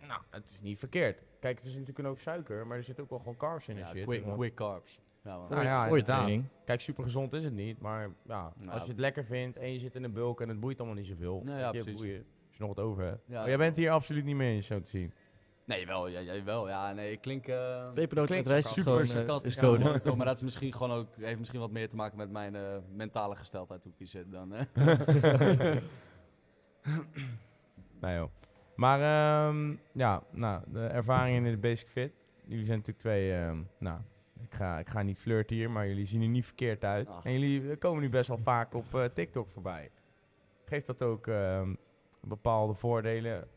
[SPEAKER 2] nou, het is niet verkeerd. Kijk, het is natuurlijk een hoop suiker, maar er zit ook wel gewoon carbs in en
[SPEAKER 3] Ja,
[SPEAKER 2] shit.
[SPEAKER 3] quick,
[SPEAKER 1] Ja.
[SPEAKER 3] quick carbs. Ja, man.
[SPEAKER 1] Voor,
[SPEAKER 2] nou
[SPEAKER 1] je-
[SPEAKER 2] ja,
[SPEAKER 1] voor je
[SPEAKER 2] inderdaad.
[SPEAKER 1] training.
[SPEAKER 2] Kijk, super gezond is het niet, maar ja,
[SPEAKER 3] Nou.
[SPEAKER 2] als je het lekker vindt en je zit in een bulk en het boeit allemaal niet zoveel.
[SPEAKER 3] Nou ja,
[SPEAKER 2] weet je,
[SPEAKER 3] precies.
[SPEAKER 2] boeien. Als je nog wat over hebt.
[SPEAKER 3] Ja,
[SPEAKER 2] Maar jij bent hier absoluut niet mee eens, zo te zien.
[SPEAKER 3] Nee, wel. Ja, jij wel. Ja, nee, ik klink... eh,
[SPEAKER 1] Pepernoten met
[SPEAKER 3] klinkt
[SPEAKER 1] rijst is
[SPEAKER 3] sarcastisch.
[SPEAKER 1] gewoon... eh,
[SPEAKER 3] super sarcastisch.
[SPEAKER 1] is
[SPEAKER 3] ja,
[SPEAKER 1] code.
[SPEAKER 3] maar dat- maar dat is misschien gewoon ook, heeft misschien wat meer te maken met mijn eh, mentale gesteldheid, hoe ik hier zit dan. hè.
[SPEAKER 2] [laughs] Nee joh. Maar ehm, ja, nou, de ervaringen in de Basic Fit. Jullie zijn natuurlijk twee, ehm, nou, ik ga, ik ga niet flirten hier, maar jullie zien er niet verkeerd uit.
[SPEAKER 3] Ach.
[SPEAKER 2] En jullie eh, komen nu best wel vaak op eh, TikTok voorbij. Geeft dat ook ehm, bepaalde voordelen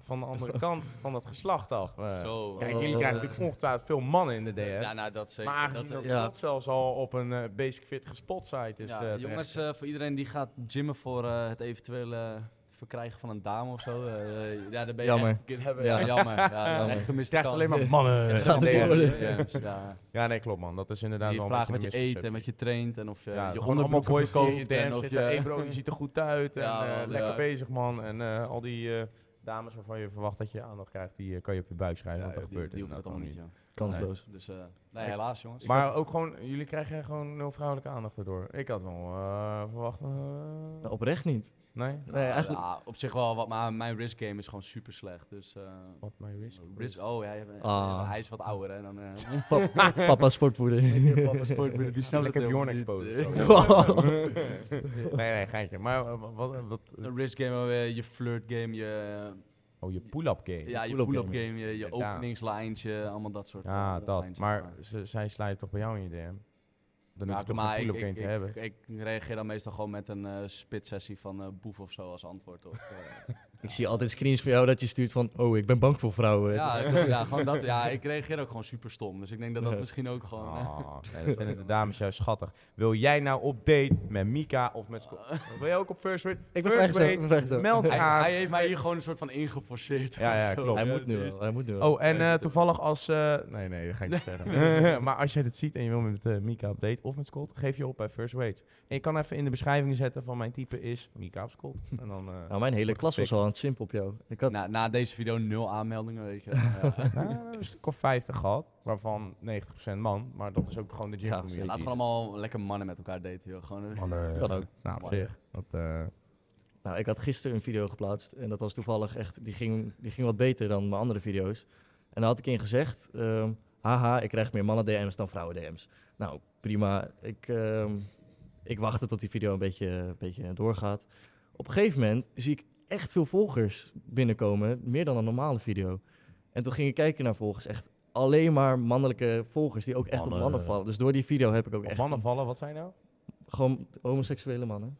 [SPEAKER 2] van de
[SPEAKER 3] [laughs]
[SPEAKER 2] andere kant van dat geslacht af? eh?
[SPEAKER 3] Zo.
[SPEAKER 2] Kijk,
[SPEAKER 1] Oh,
[SPEAKER 2] jullie krijgen
[SPEAKER 1] eh.
[SPEAKER 2] natuurlijk ongetwijfeld veel mannen in de DM.
[SPEAKER 3] ja, nou, dat zeker.
[SPEAKER 2] maar
[SPEAKER 3] dat
[SPEAKER 2] aangezien dat,
[SPEAKER 3] zeker.
[SPEAKER 1] ja.
[SPEAKER 2] dat zelfs al op een eh, Basic Fit gespot site is.
[SPEAKER 3] Ja,
[SPEAKER 2] eh,
[SPEAKER 3] jongens, eh, voor iedereen die gaat gymmen voor eh, het eventuele verkrijgen van een dame of zo. eh, eh, ja, daar ben je
[SPEAKER 1] Jammer.
[SPEAKER 3] echt- Hebben,
[SPEAKER 1] Ja.
[SPEAKER 3] ja. jammer. Ja, dat is
[SPEAKER 2] [laughs]
[SPEAKER 1] Jammer.
[SPEAKER 3] echt gemist.
[SPEAKER 2] terecht. Het krijgt alleen maar mannen.
[SPEAKER 1] Gaat
[SPEAKER 2] in de
[SPEAKER 1] door.
[SPEAKER 2] DM.
[SPEAKER 1] worden.
[SPEAKER 3] Jams, ja.
[SPEAKER 2] Ja, nee, klopt man. Dat is inderdaad
[SPEAKER 3] Die
[SPEAKER 2] wel
[SPEAKER 3] vragen
[SPEAKER 2] een
[SPEAKER 3] wat
[SPEAKER 2] beetje
[SPEAKER 3] je
[SPEAKER 2] een
[SPEAKER 3] eet en wat
[SPEAKER 2] misconceptie.
[SPEAKER 3] je traint en of je
[SPEAKER 2] Ja,
[SPEAKER 3] je
[SPEAKER 2] gewoon allemaal
[SPEAKER 3] onderbroeken
[SPEAKER 2] boys die in je
[SPEAKER 3] verkoopt. en
[SPEAKER 2] DM
[SPEAKER 3] of
[SPEAKER 2] zitten. Hé
[SPEAKER 3] je-
[SPEAKER 2] bro, je ziet er goed uit. En
[SPEAKER 3] Ja,
[SPEAKER 2] eh,
[SPEAKER 3] man,
[SPEAKER 2] lekker
[SPEAKER 3] ja.
[SPEAKER 2] bezig man. En eh, al die eh, dames waarvan je verwacht dat je aandacht krijgt, die eh, kan je op je buik schrijven.
[SPEAKER 3] Ja,
[SPEAKER 2] want dat
[SPEAKER 3] die-
[SPEAKER 2] gebeurt
[SPEAKER 3] die hoeft
[SPEAKER 2] inderdaad
[SPEAKER 3] het allemaal niet, joh.
[SPEAKER 1] kansloos.
[SPEAKER 3] Dus eh, nee, helaas jongens.
[SPEAKER 2] Maar ook gewoon, jullie krijgen gewoon nul vrouwelijke aandacht erdoor. Ik had wel eh, verwacht. eh,
[SPEAKER 1] Nou, oprecht niet.
[SPEAKER 2] nee,
[SPEAKER 1] Nee, eigenlijk,
[SPEAKER 3] Ja, eh, ah, op zich wel wat, maar mijn risk game is gewoon super slecht. Dus eh,
[SPEAKER 2] wat mijn risk.
[SPEAKER 3] risk, oh ja, ja,
[SPEAKER 1] Ah.
[SPEAKER 3] hij is wat ouder hè.
[SPEAKER 2] [laughs]
[SPEAKER 3] Dan, eh [laughs]
[SPEAKER 1] pa- papa sportvoerder. [laughs]
[SPEAKER 2] die snel ik heb Jorn
[SPEAKER 3] [laughs]
[SPEAKER 2] exposed.
[SPEAKER 1] Wow.
[SPEAKER 2] nee, nee, geintje. Maar eh, wa- wat, wat,
[SPEAKER 3] Een risk game, eh, je flirt game, je,
[SPEAKER 2] oh, je pull-up game.
[SPEAKER 3] ja, je
[SPEAKER 1] pull-up
[SPEAKER 3] pull-up
[SPEAKER 1] game.
[SPEAKER 3] game, je, je
[SPEAKER 2] Ja.
[SPEAKER 3] openingslijntje, allemaal dat soort
[SPEAKER 2] Ja,
[SPEAKER 3] eh,
[SPEAKER 2] dat.
[SPEAKER 3] lijntjes,
[SPEAKER 2] Maar ze, zij sluit toch bij jou in je DM? Dan hoef
[SPEAKER 3] Ja,
[SPEAKER 2] je toch
[SPEAKER 3] maar
[SPEAKER 2] geen
[SPEAKER 3] ik,
[SPEAKER 2] pull-up game
[SPEAKER 3] ik,
[SPEAKER 2] te
[SPEAKER 3] ik,
[SPEAKER 2] hebben.
[SPEAKER 3] Ik, reageer dan meestal gewoon met een eh, spitsessie van eh, boef of zo als antwoord.
[SPEAKER 2] [laughs]
[SPEAKER 3] Of, eh,
[SPEAKER 1] Ik zie altijd screens van jou dat je stuurt van, oh, ik ben bang voor vrouwen.
[SPEAKER 3] ja, ik- ja, gewoon dat. Ja, ik reageer ook gewoon super stom. Dus ik denk dat dat
[SPEAKER 1] Ja.
[SPEAKER 3] misschien ook gewoon. eh, [laughs]
[SPEAKER 2] Oh, nee, dat vinden de dames juist schattig. Wil jij nou op date met Mika of met Scott? Wil jij ook op first date?
[SPEAKER 1] Ik ben
[SPEAKER 2] First
[SPEAKER 1] vrijgezel.
[SPEAKER 2] date,
[SPEAKER 1] vrijgezel.
[SPEAKER 2] Meld
[SPEAKER 3] [laughs] Ah. hij,
[SPEAKER 2] aan.
[SPEAKER 3] hij heeft mij hier gewoon een soort van ingeforceerd.
[SPEAKER 2] Ja, ja,
[SPEAKER 3] Zo.
[SPEAKER 2] klopt.
[SPEAKER 1] Hij
[SPEAKER 3] Ja,
[SPEAKER 1] moet nu
[SPEAKER 3] het
[SPEAKER 1] wel,
[SPEAKER 3] is-
[SPEAKER 1] hij moet nu wel.
[SPEAKER 2] Oh, en eh, toevallig als... eh, nee, nee, dat ga ik
[SPEAKER 3] [laughs]
[SPEAKER 2] niet zeggen. [laughs] maar als jij dit ziet en je wil met eh, Mika op date of met Scott, geef je op bij First Date. En je kan even in de beschrijving zetten van mijn type is Mika of Scott. En dan...
[SPEAKER 3] [laughs]
[SPEAKER 2] eh,
[SPEAKER 1] Nou, mijn hele klas
[SPEAKER 2] Wordt
[SPEAKER 1] was
[SPEAKER 2] gefixt.
[SPEAKER 1] al aan het simpen op jou. Ik had,
[SPEAKER 3] Na, na deze video nul aanmeldingen,
[SPEAKER 2] [laughs]
[SPEAKER 3] weet je. Ja.
[SPEAKER 2] nou, een stuk of 50 gehad, waarvan 90% man. Maar dat is ook Oh, gewoon de gym
[SPEAKER 1] Ja,
[SPEAKER 3] Ja,
[SPEAKER 2] community. Dus-
[SPEAKER 3] laat gewoon allemaal lekker mannen met elkaar daten, joh. [laughs] Gewoon, eh,
[SPEAKER 2] Mannen-
[SPEAKER 1] Kan ook.
[SPEAKER 2] Nou, op zich. Dat, eh,
[SPEAKER 1] nou, ik had gisteren een video geplaatst en dat was toevallig echt, die ging, die ging wat beter dan mijn andere video's. En daar had ik in gezegd, ehm, haha, ik krijg meer mannen DM's dan vrouwen DM's. Nou, prima. Ik, ehm, ik wachtte tot die video een beetje, een beetje doorgaat. Op een gegeven moment zie ik echt veel volgers binnenkomen, meer dan een normale video. En toen ging ik kijken naar volgers, echt alleen maar mannelijke volgers die ook echt op
[SPEAKER 2] Mannen. eh.
[SPEAKER 1] mannen vallen. Dus door die video heb ik ook
[SPEAKER 2] op
[SPEAKER 1] echt
[SPEAKER 2] mannen vallen, wat zijn nou?
[SPEAKER 1] gewoon homoseksuele mannen.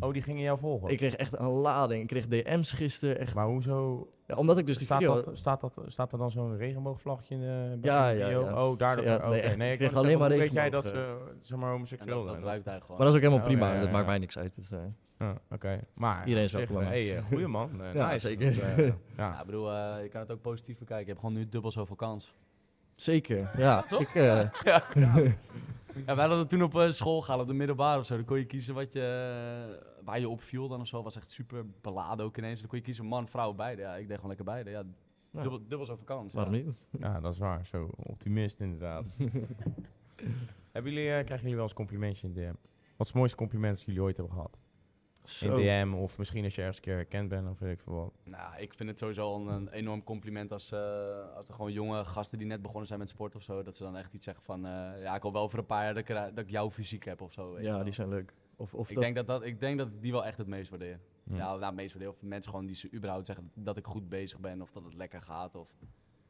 [SPEAKER 2] Oh, die gingen jou volgen?
[SPEAKER 1] Ik kreeg echt een lading. Ik kreeg DM's gisteren. Echt.
[SPEAKER 2] Maar hoezo?
[SPEAKER 1] Ja, omdat ik dus die
[SPEAKER 2] staat,
[SPEAKER 1] video...
[SPEAKER 2] dat, staat, dat, staat er dan zo'n regenboogvlagje in de bij
[SPEAKER 1] Ja,
[SPEAKER 2] de
[SPEAKER 1] ja,
[SPEAKER 2] video?
[SPEAKER 1] ja.
[SPEAKER 2] Oh, daardoor.
[SPEAKER 1] Ja,
[SPEAKER 2] oké.
[SPEAKER 1] nee, echt,
[SPEAKER 2] nee,
[SPEAKER 1] ik kreeg
[SPEAKER 2] ik wou zeggen,
[SPEAKER 1] alleen maar
[SPEAKER 2] hoe weet jij dat
[SPEAKER 1] regenboog,
[SPEAKER 2] ze zeg maar
[SPEAKER 3] en dat,
[SPEAKER 2] homoseksueel
[SPEAKER 3] dat
[SPEAKER 2] zijn?
[SPEAKER 3] ruikt hij gewoon.
[SPEAKER 1] maar dat is ook helemaal
[SPEAKER 2] Oh,
[SPEAKER 1] prima.
[SPEAKER 2] ja, ja,
[SPEAKER 1] Dat
[SPEAKER 2] ja.
[SPEAKER 1] maakt mij niks uit. Dus, eh,
[SPEAKER 2] Ja, Oké, maar
[SPEAKER 1] Iedereen is
[SPEAKER 2] op zich,
[SPEAKER 1] welkom,
[SPEAKER 2] eh,
[SPEAKER 1] maar-
[SPEAKER 2] hey, eh, goeie man.
[SPEAKER 1] [laughs]
[SPEAKER 2] Eh,
[SPEAKER 1] Ja,
[SPEAKER 2] nice.
[SPEAKER 1] zeker.
[SPEAKER 2] Dat,
[SPEAKER 1] [laughs]
[SPEAKER 2] eh,
[SPEAKER 3] Ja,
[SPEAKER 2] ja.
[SPEAKER 3] ik bedoel, eh, je kan het ook positief bekijken. Je hebt gewoon nu dubbel zoveel kans.
[SPEAKER 1] zeker. [laughs] Ja,
[SPEAKER 3] Toch?
[SPEAKER 1] Ik, eh,
[SPEAKER 3] Ja, wij hadden het toen op eh, school gehaald, op de middelbare of zo. Dan kon je kiezen wat je, eh, waar je op viel dan of zo. Was echt super beladen ook ineens. Dan kon je kiezen man, vrouw, beide. Ja, ik deed gewoon lekker beide. Ja, dubbel, dubbel zoveel kans.
[SPEAKER 1] waarom
[SPEAKER 3] ja.
[SPEAKER 1] niet?
[SPEAKER 2] ja, dat is waar. Zo
[SPEAKER 1] [laughs]
[SPEAKER 2] optimist inderdaad. hebben jullie, eh, krijgen jullie wel eens complimentje in DM? Wat is het mooiste compliment dat jullie ooit hebben gehad? In
[SPEAKER 1] Zo.
[SPEAKER 2] DM of misschien als je ergens een keer herkend bent of weet ik veel wat.
[SPEAKER 3] Nou, ik vind het sowieso al een, een enorm compliment als, eh, als er gewoon jonge gasten die net begonnen zijn met sport of zo. Dat ze dan echt iets zeggen van, eh, ja, ik hoop wel over een paar jaar dat ik, ra- dat ik jouw fysiek heb of zo. weet je
[SPEAKER 1] Ja,
[SPEAKER 3] wel.
[SPEAKER 1] die zijn leuk. Of, of
[SPEAKER 3] ik,
[SPEAKER 1] dat...
[SPEAKER 3] denk dat dat, ik denk dat ik die wel echt het meest waardeer.
[SPEAKER 2] Hm.
[SPEAKER 3] Ja, nou, het meest waardeer. Of mensen gewoon die ze überhaupt zeggen dat ik goed bezig ben of dat het lekker gaat. Of...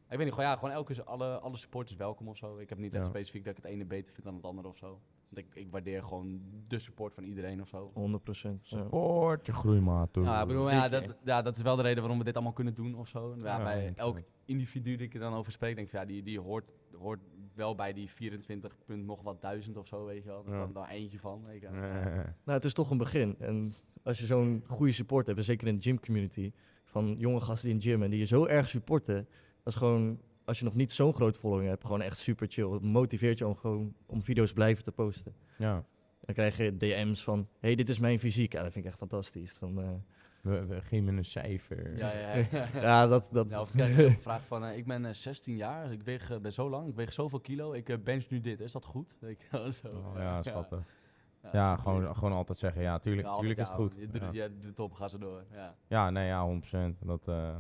[SPEAKER 3] Ik weet niet, gewoon, ja, gewoon elke keer alle, alle support is welkom of zo. Ik heb niet echt
[SPEAKER 2] Ja.
[SPEAKER 3] specifiek dat ik het ene beter vind dan het andere of zo. Want Ik, ik waardeer gewoon de support van iedereen of zo.
[SPEAKER 1] 100 procent.
[SPEAKER 3] Oh.
[SPEAKER 2] Support je groeimaat.
[SPEAKER 3] Nou, ja, ik bedoel, ja,
[SPEAKER 2] Zeker.
[SPEAKER 3] dat, ja, dat is wel de reden waarom we dit allemaal kunnen doen of zo. Ja,
[SPEAKER 2] Ja,
[SPEAKER 3] bij
[SPEAKER 2] ik
[SPEAKER 3] elk
[SPEAKER 2] snap.
[SPEAKER 3] individu die ik er dan over spreek, denk ik van, ja, die, die hoort, hoort wel bij die 24 punt nog wat duizend of zo, weet je wel. Dat is
[SPEAKER 2] Ja.
[SPEAKER 3] dan daar eentje van. weet je wel.
[SPEAKER 2] Eh,
[SPEAKER 1] Nou, het is toch een begin. En als je zo'n goede support hebt, en zeker in de gymcommunity, van jonge gasten die in de gym en die je zo erg supporten, dat is gewoon, als je nog niet zo'n grote following hebt, gewoon echt super chill. Het motiveert je om gewoon om video's blijven te posten.
[SPEAKER 2] ja.
[SPEAKER 1] Dan krijg je DM's van, hey, dit is mijn fysiek. Ja, dat vind ik echt fantastisch. Van, eh,
[SPEAKER 3] [laughs]
[SPEAKER 2] We, we geven een cijfer.
[SPEAKER 3] Ja, ja,
[SPEAKER 2] [laughs]
[SPEAKER 3] ja.
[SPEAKER 1] ja, dat... dat
[SPEAKER 3] Nou,
[SPEAKER 1] [laughs]
[SPEAKER 3] of krijg je een vraag van, eh, ik ben eh, 16 jaar, ik weeg, eh, ben zo lang, ik weeg zoveel kilo, ik eh, bench nu dit, is dat goed? [laughs] Weet je wel, zo.
[SPEAKER 2] Oh,
[SPEAKER 3] [laughs] eh,
[SPEAKER 2] ja, schattig. Ja,
[SPEAKER 3] super lief.
[SPEAKER 2] gewoon, gewoon altijd zeggen, ja, tuurlijk,
[SPEAKER 3] Ja,
[SPEAKER 2] tuurlijk is het
[SPEAKER 3] altijd,
[SPEAKER 2] goed.
[SPEAKER 3] ja, Je,
[SPEAKER 2] Ja.
[SPEAKER 3] dru- je- de top gaat ze door, ja.
[SPEAKER 2] Ja, nee, ja, 100%. Dat, eh,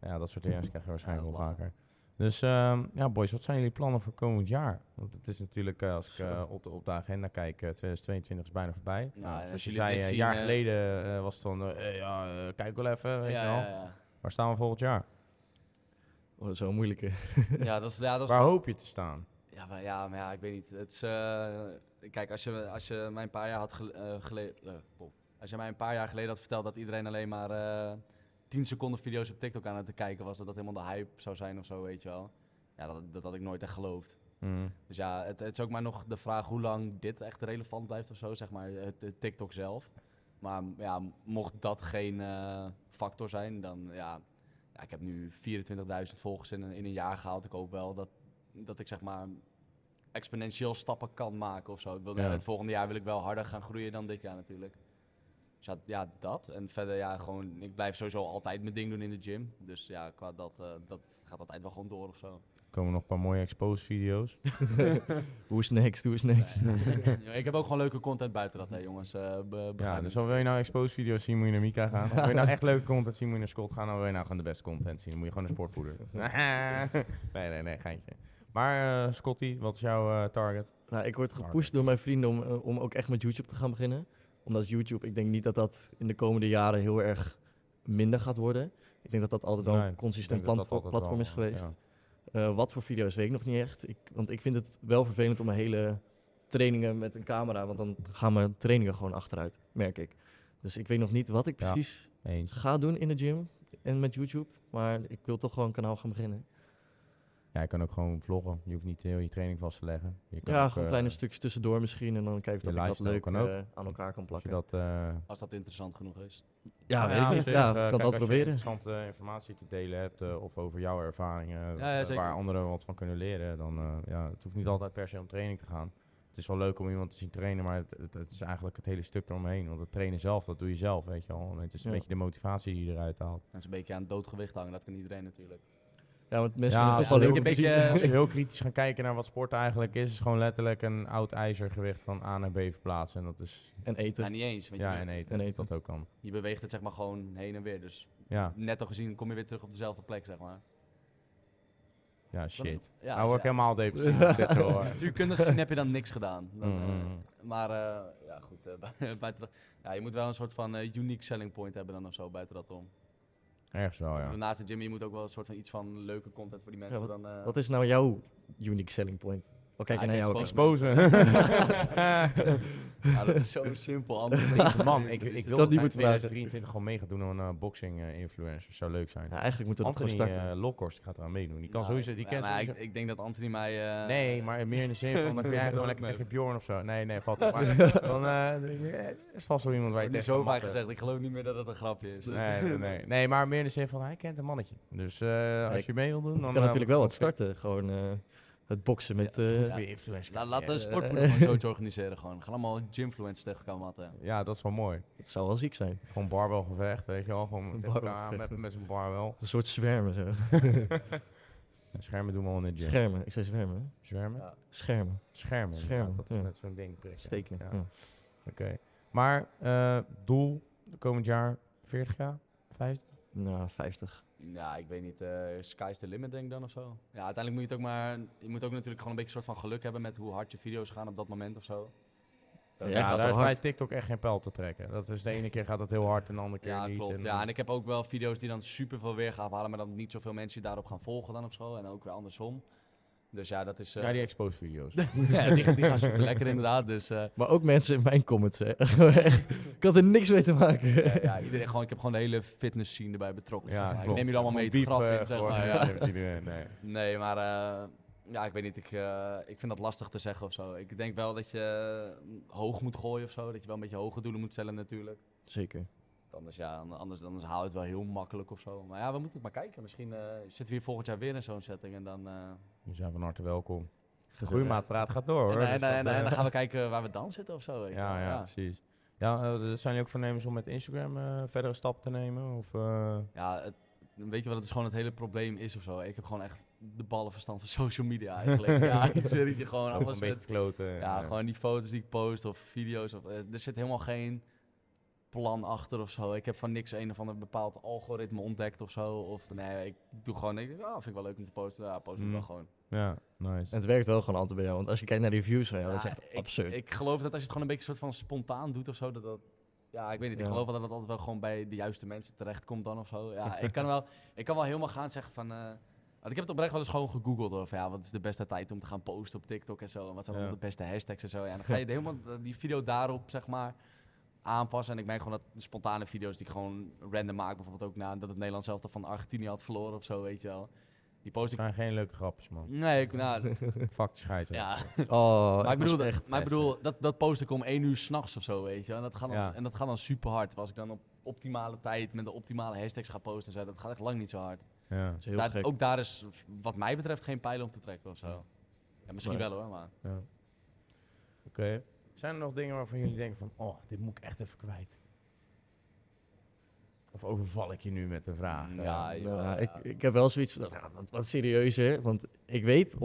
[SPEAKER 2] ja, dat soort dingen krijg je waarschijnlijk
[SPEAKER 3] Ja,
[SPEAKER 2] wel
[SPEAKER 3] dat is
[SPEAKER 2] vaker. Dus ehm, ja, boys, wat zijn jullie plannen voor komend jaar? Want het is natuurlijk, eh, als ik
[SPEAKER 1] Zo.
[SPEAKER 2] eh, op, de, op de agenda kijk, eh, 2022 is bijna voorbij.
[SPEAKER 3] Nou,
[SPEAKER 2] Nou,
[SPEAKER 3] en
[SPEAKER 2] zoals
[SPEAKER 3] als
[SPEAKER 2] je
[SPEAKER 3] jullie
[SPEAKER 2] zei,
[SPEAKER 3] dit
[SPEAKER 2] eh, een
[SPEAKER 3] zien,
[SPEAKER 2] jaar
[SPEAKER 3] eh,
[SPEAKER 2] geleden eh, was het dan, eh, eh, ja, eh, kijk wel even, weet
[SPEAKER 3] ja,
[SPEAKER 2] je wel.
[SPEAKER 3] ja, ja.
[SPEAKER 2] Waar staan we volgend jaar?
[SPEAKER 1] Oh, dat is wel moeilijk. hè.
[SPEAKER 3] Ja, dat is, ja, dat
[SPEAKER 2] [laughs]
[SPEAKER 3] is
[SPEAKER 2] Waar hoop je te staan?
[SPEAKER 3] Ja, maar ja, maar ja, ik weet niet. Het is, eh, kijk, als je, als je mij een paar jaar had eh, geleden. als je mij een paar jaar geleden had verteld dat iedereen alleen maar eh 10 seconden video's op TikTok aan het kijken was, dat dat helemaal de hype zou zijn of zo, weet je wel. Ja, dat, dat had ik nooit echt geloofd.
[SPEAKER 2] Mm.
[SPEAKER 3] Dus ja, het, het is ook maar nog de vraag hoe lang dit echt relevant blijft of zo, zeg maar, het, het TikTok zelf. Maar m- ja, mocht dat geen eh, factor zijn, dan ja, ja, ik heb nu 24.000 volgers in een, in een jaar gehaald. Ik hoop wel dat, dat ik zeg maar exponentieel stappen kan maken of zo. Ik wil,
[SPEAKER 2] Ja.
[SPEAKER 3] Het volgende jaar wil ik wel harder gaan groeien dan dit jaar natuurlijk. Dus ja, ja, dat. En verder, ja, gewoon, ik blijf sowieso altijd mijn ding doen in de gym. Dus ja, qua dat, eh, dat gaat altijd wel gewoon door of zo.
[SPEAKER 2] Er komen nog een paar mooie expose video's.
[SPEAKER 1] Who's next? Who's next?
[SPEAKER 3] [laughs] Ja, ik heb ook gewoon leuke content buiten dat, hè, jongens. eh, be- begrijp
[SPEAKER 2] Ja,
[SPEAKER 3] me
[SPEAKER 2] dus
[SPEAKER 3] niet.
[SPEAKER 2] al wil je nou expose video's zien, moet je naar Mika gaan. Of wil je nou echt leuke content zien, moet je naar Scott gaan. Of wil je nou gewoon de beste content zien, moet je gewoon naar [laughs] Sportpoeder. nee, nee, nee, geintje. Maar eh, Scotty, wat is jouw eh, target?
[SPEAKER 1] Nou, ik word
[SPEAKER 2] Market.
[SPEAKER 1] gepusht door mijn vrienden om, eh, om ook echt met YouTube te gaan beginnen. Omdat YouTube, ik denk niet dat dat in de komende jaren heel erg minder gaat worden. Ik denk dat dat altijd wel
[SPEAKER 2] Nee,
[SPEAKER 1] een
[SPEAKER 2] Ik denk
[SPEAKER 1] consistent
[SPEAKER 2] dat dat
[SPEAKER 1] platfo-
[SPEAKER 2] altijd
[SPEAKER 1] platform
[SPEAKER 2] wel,
[SPEAKER 1] is geweest.
[SPEAKER 2] ja.
[SPEAKER 1] Eh, wat voor video's weet ik nog niet echt. Ik, want ik vind het wel vervelend om mijn hele trainingen met een camera. Want dan gaan mijn trainingen gewoon achteruit, merk ik. Dus ik weet nog niet wat ik
[SPEAKER 2] Ja.
[SPEAKER 1] precies
[SPEAKER 2] Eens.
[SPEAKER 1] ga doen in de gym en met YouTube. Maar ik wil toch gewoon een kanaal gaan beginnen.
[SPEAKER 2] Ja, je kan ook gewoon vloggen. Je hoeft niet heel je training vast te leggen. Je kan
[SPEAKER 1] ja,
[SPEAKER 2] ook,
[SPEAKER 1] gewoon
[SPEAKER 2] eh,
[SPEAKER 1] kleine stukjes tussendoor misschien. En dan kijken
[SPEAKER 2] je
[SPEAKER 1] of ik dat
[SPEAKER 2] lifestyle
[SPEAKER 1] leuk
[SPEAKER 2] kan ook.
[SPEAKER 1] eh, aan elkaar kan
[SPEAKER 2] Als je
[SPEAKER 1] plakken.
[SPEAKER 2] dat... eh,
[SPEAKER 3] Als dat interessant genoeg is.
[SPEAKER 1] Ja, weet
[SPEAKER 2] nou
[SPEAKER 1] ik
[SPEAKER 2] op
[SPEAKER 1] niet.
[SPEAKER 2] zich,
[SPEAKER 1] Ja,
[SPEAKER 2] eh,
[SPEAKER 1] ik kan
[SPEAKER 2] kijk,
[SPEAKER 1] dat
[SPEAKER 2] als je
[SPEAKER 1] proberen.
[SPEAKER 2] interessante informatie te delen hebt eh, of over jouw ervaringen,
[SPEAKER 3] Ja, ja,
[SPEAKER 2] eh,
[SPEAKER 3] zeker.
[SPEAKER 2] waar anderen wat van kunnen leren, dan eh, ja, het hoeft niet altijd per se om training te gaan. Het is wel leuk om iemand te zien trainen, maar het, het, het is eigenlijk het hele stuk eromheen. Want het trainen zelf, dat doe je zelf, weet je al. En het is een
[SPEAKER 1] Ja.
[SPEAKER 2] beetje de motivatie die je eruit haalt.
[SPEAKER 3] Dat is een beetje aan het doodgewicht hangen, dat kan iedereen natuurlijk.
[SPEAKER 1] Ja, want mensen
[SPEAKER 2] Ja,
[SPEAKER 1] vinden
[SPEAKER 2] ja,
[SPEAKER 1] het toch wel
[SPEAKER 3] ik
[SPEAKER 1] leuk
[SPEAKER 3] heb
[SPEAKER 1] om te
[SPEAKER 3] een
[SPEAKER 1] zien.
[SPEAKER 3] beetje-
[SPEAKER 2] Als je heel kritisch gaan kijken naar wat sport eigenlijk is, is gewoon letterlijk een oud ijzergewicht van A naar B verplaatsen. En dat is,
[SPEAKER 1] En
[SPEAKER 3] Ja,
[SPEAKER 1] eten.
[SPEAKER 3] niet eens, want
[SPEAKER 2] ja,
[SPEAKER 3] je,
[SPEAKER 2] en eten,
[SPEAKER 1] en
[SPEAKER 2] dat
[SPEAKER 1] eten.
[SPEAKER 2] dat ook kan.
[SPEAKER 3] je beweegt het zeg maar gewoon heen en weer. Dus
[SPEAKER 2] Ja,
[SPEAKER 3] netto gezien kom je weer terug op dezelfde plek, zeg maar.
[SPEAKER 2] ja shit.
[SPEAKER 3] Ja,
[SPEAKER 2] nou word ik
[SPEAKER 3] dus ja.
[SPEAKER 2] helemaal depressief. als ik
[SPEAKER 3] [laughs]
[SPEAKER 2] dit zo hoor.
[SPEAKER 3] Natuurkundig gezien heb je dan niks gedaan. Dan,
[SPEAKER 2] Mm,
[SPEAKER 3] eh,
[SPEAKER 2] mm, mm.
[SPEAKER 3] Maar eh, ja, goed. eh, [laughs] bu- buiten dat- ja, je moet wel een soort van eh, unique selling point hebben dan of zo buiten dat om.
[SPEAKER 2] Ergens wel,
[SPEAKER 3] Ik
[SPEAKER 2] Oh, ja.
[SPEAKER 3] bedoel, Naast de gym, je moet ook wel een soort van iets van leuke content voor die mensen
[SPEAKER 1] wat-
[SPEAKER 3] dan. eh,
[SPEAKER 1] Wat is nou jouw unique selling point? Wel kijken
[SPEAKER 3] Ah, ik
[SPEAKER 1] naar jou.
[SPEAKER 3] expose-
[SPEAKER 1] ook.
[SPEAKER 2] Exposen.
[SPEAKER 1] [laughs]
[SPEAKER 3] ja, dat is zo simpel. Andere dingen.
[SPEAKER 2] Man, ik, ik wil
[SPEAKER 1] dat
[SPEAKER 2] dat
[SPEAKER 1] niet
[SPEAKER 2] niet
[SPEAKER 1] moeten vragen.
[SPEAKER 2] 2023 gewoon mee gaan doen aan een boxing eh, influencer. Zou leuk zijn.
[SPEAKER 1] Ja, eigenlijk moeten we dat
[SPEAKER 2] Anthony
[SPEAKER 1] gewoon starten.
[SPEAKER 2] eh, Lokhorst die gaat eraan meedoen. Die kan
[SPEAKER 3] Nou,
[SPEAKER 2] sowieso, die
[SPEAKER 3] ja,
[SPEAKER 2] kent
[SPEAKER 3] maar
[SPEAKER 2] sowieso-
[SPEAKER 3] ik, ik denk dat Anthony mij. eh,
[SPEAKER 2] Nee, maar meer in de zin van, dan
[SPEAKER 3] [laughs]
[SPEAKER 2] kun jij gewoon lekker
[SPEAKER 3] Nee.
[SPEAKER 2] tegen Bjorn of zo. Nee, nee, valt
[SPEAKER 3] [laughs]
[SPEAKER 2] niet. Maar dan eh, er is vast wel iemand waar je tegen
[SPEAKER 3] Wordt nu zo
[SPEAKER 2] kan
[SPEAKER 3] vaak dus.
[SPEAKER 2] matten.
[SPEAKER 3] gezegd, ik geloof niet meer dat het een grapje is.
[SPEAKER 2] Nee, [laughs]
[SPEAKER 3] [laughs]
[SPEAKER 2] nee, nee. nee, maar meer in de zin van, hij kent een mannetje. Dus eh, als
[SPEAKER 1] Kijk,
[SPEAKER 2] je mee wil doen, dan...
[SPEAKER 1] Je
[SPEAKER 2] eh,
[SPEAKER 1] kan natuurlijk wel wat
[SPEAKER 2] wordt het
[SPEAKER 1] starten. Gewoon eh, het boksen met... eh,
[SPEAKER 2] weer influencer.
[SPEAKER 3] La, dus- laten
[SPEAKER 2] Ja.
[SPEAKER 3] we een sportpoeder gewoon zoiets organiseren. Gewoon. Gaan allemaal gymfluencers tegen elkaar matten.
[SPEAKER 2] Ja, dat is wel mooi.
[SPEAKER 1] Het zou wel ziek zijn.
[SPEAKER 2] Gewoon barbelgevecht, weet je wel. Gewoon tegen elkaar aan met,
[SPEAKER 1] barbelgevecht.
[SPEAKER 2] met zo'n barbel.
[SPEAKER 1] Een soort zwermen zo.
[SPEAKER 2] Schermen doen we al in de gym.
[SPEAKER 1] Schermen. Ik zei zwermen. hè?
[SPEAKER 2] Zwermen?
[SPEAKER 3] Ja.
[SPEAKER 1] Schermen.
[SPEAKER 2] Schermen.
[SPEAKER 1] Schermen,
[SPEAKER 2] inderdaad, Dat is
[SPEAKER 1] ja.
[SPEAKER 2] net zo'n ding. prikken.
[SPEAKER 1] Steken.
[SPEAKER 2] Ja.
[SPEAKER 1] Ja.
[SPEAKER 2] Oké. Maar eh, doel komend jaar 40k? 50?
[SPEAKER 1] Nou, 50.
[SPEAKER 3] Ja, ik weet niet. eh, sky's the limit denk ik dan of zo. Ja, uiteindelijk moet je het ook maar... Je moet ook natuurlijk gewoon een beetje een soort van geluk hebben met hoe hard je video's gaan op dat moment of zo.
[SPEAKER 1] Ja,
[SPEAKER 2] Ja,
[SPEAKER 1] gaat
[SPEAKER 2] daar
[SPEAKER 1] wel
[SPEAKER 2] is bij
[SPEAKER 1] hard.
[SPEAKER 2] TikTok echt geen pijl op te trekken. Dat is de ene keer gaat het heel hard en de andere keer
[SPEAKER 3] Ja,
[SPEAKER 2] niet.
[SPEAKER 3] klopt.
[SPEAKER 2] En,
[SPEAKER 3] Ja, en ik heb ook wel video's die dan super veel weergave halen, maar dan niet zoveel mensen die daarop gaan volgen dan of zo. En ook weer andersom. Dus ja, dat is... eh,
[SPEAKER 2] ja, die expose video's.
[SPEAKER 3] [laughs] ja, die, die gaan super lekker inderdaad.
[SPEAKER 2] [laughs]
[SPEAKER 3] Dus eh,
[SPEAKER 1] Maar ook mensen in mijn comments, hè. [laughs] Echt, ik had er niks mee te maken.
[SPEAKER 3] ja, ja, iedereen gewoon, ik heb gewoon de hele fitness scene erbij betrokken. zeg
[SPEAKER 2] Ja,
[SPEAKER 3] maar. ik neem
[SPEAKER 2] klopt.
[SPEAKER 3] jullie allemaal mee het graf in, zeg
[SPEAKER 2] [laughs]
[SPEAKER 3] maar. Ja.
[SPEAKER 2] nee.
[SPEAKER 3] [laughs] Nee, maar eh, ja, ik weet niet. Ik, eh, ik vind dat lastig te zeggen of zo. Ik denk wel dat je mm, hoog moet gooien of zo. Dat je wel een beetje hoge doelen moet stellen natuurlijk.
[SPEAKER 1] Zeker.
[SPEAKER 3] Anders, ja, an- anders, anders haal je het wel heel makkelijk of zo. Maar ja, we moeten het maar kijken. Misschien eh, zitten we hier volgend jaar weer in zo'n setting. En dan, eh,
[SPEAKER 2] We zijn van harte welkom.
[SPEAKER 1] Gezellig.
[SPEAKER 2] Groeimaat praat gaat door
[SPEAKER 3] en,
[SPEAKER 2] hoor.
[SPEAKER 3] dan-
[SPEAKER 2] Dus
[SPEAKER 3] en, dan-
[SPEAKER 2] dat,
[SPEAKER 3] en dan- en
[SPEAKER 2] eh,
[SPEAKER 3] dan gaan we kijken waar we dan zitten of zo. weet je wel.
[SPEAKER 2] ja, ja, precies. Ja, eh, d- zijn jullie ook voornemens om met Instagram eh, verdere stap te nemen? Of, eh,
[SPEAKER 3] Ja, het, weet je wat het is gewoon het hele probleem is of zo? Ik heb gewoon echt de ballenverstand van social media
[SPEAKER 2] [laughs]
[SPEAKER 3] eigenlijk. ja, ik zeg dat je gewoon
[SPEAKER 2] ook
[SPEAKER 3] alles
[SPEAKER 2] een beetje
[SPEAKER 3] met...
[SPEAKER 2] verkloten?
[SPEAKER 3] Ja,
[SPEAKER 2] eh,
[SPEAKER 3] gewoon die foto's die ik post of video's. Of, eh, er zit helemaal geen plan achter of zo. Ik heb van niks een of ander bepaald algoritme ontdekt of zo. Of nee, ik doe gewoon, ik denk, ah, vind ik wel leuk om te posten. Ja, post ik
[SPEAKER 2] Mm.
[SPEAKER 3] wel gewoon.
[SPEAKER 2] Ja, nice.
[SPEAKER 1] En het werkt wel gewoon altijd bij jou. Want als je kijkt naar de reviews van jou,
[SPEAKER 3] Ja,
[SPEAKER 1] dat is echt
[SPEAKER 3] ik,
[SPEAKER 1] absurd.
[SPEAKER 3] Ik geloof dat als je het gewoon een beetje soort van spontaan doet of zo, dat dat... Ja, ik weet niet. Ik
[SPEAKER 1] Ja.
[SPEAKER 3] geloof wel dat het altijd wel gewoon bij de juiste mensen terechtkomt dan of zo. Ja, ik kan
[SPEAKER 1] [laughs]
[SPEAKER 3] wel, ik kan wel helemaal gaan zeggen van... eh, want ik heb het oprecht wel eens gewoon gegoogeld over ja, wat is de beste tijd om te gaan posten op TikTok en zo. En wat zijn dan
[SPEAKER 2] Ja.
[SPEAKER 3] de beste hashtags en zo. Ja, en dan ga je de- helemaal
[SPEAKER 1] [laughs]
[SPEAKER 3] eh, die video daarop, zeg maar, aanpassen. En ik merk gewoon dat de spontane video's die ik gewoon random maak, bijvoorbeeld ook na dat het Nederland zelf van Argentinië had verloren of zo, weet je wel. Die post
[SPEAKER 2] Het
[SPEAKER 3] ik...
[SPEAKER 2] zijn geen leuke grapjes, man.
[SPEAKER 3] Nee,
[SPEAKER 1] [laughs]
[SPEAKER 3] ik, nou,
[SPEAKER 2] Fuck de scheiter.
[SPEAKER 3] ja,
[SPEAKER 1] Oh,
[SPEAKER 3] maar ik
[SPEAKER 1] was
[SPEAKER 3] bedoel, dat-
[SPEAKER 1] echt
[SPEAKER 3] maar ik
[SPEAKER 1] heftig.
[SPEAKER 3] bedoel dat, dat post ik om één uur s'nachts of zo, weet je. wel. En dat gaat dan,
[SPEAKER 2] Ja.
[SPEAKER 3] en dat gaat dan super hard. Als ik dan op optimale tijd met de optimale hashtags ga posten en zo, dat gaat echt lang niet zo hard.
[SPEAKER 2] Ja.
[SPEAKER 1] Dat is heel
[SPEAKER 3] Daar-
[SPEAKER 1] gek.
[SPEAKER 3] ook daar is, wat mij betreft, geen pijlen om te trekken of zo. Ja, misschien
[SPEAKER 1] Nee.
[SPEAKER 3] wel hoor, maar.
[SPEAKER 2] Ja. Oké. Zijn er nog dingen waarvan jullie denken van, oh, dit moet ik echt even kwijt?
[SPEAKER 4] Of overval ik je nu met een vraag?
[SPEAKER 3] Ja,
[SPEAKER 1] Nou,
[SPEAKER 3] joh,
[SPEAKER 1] ik,
[SPEAKER 3] ja.
[SPEAKER 1] ik heb wel zoiets van, nou, wat, wat serieuzer. Want ik weet 100%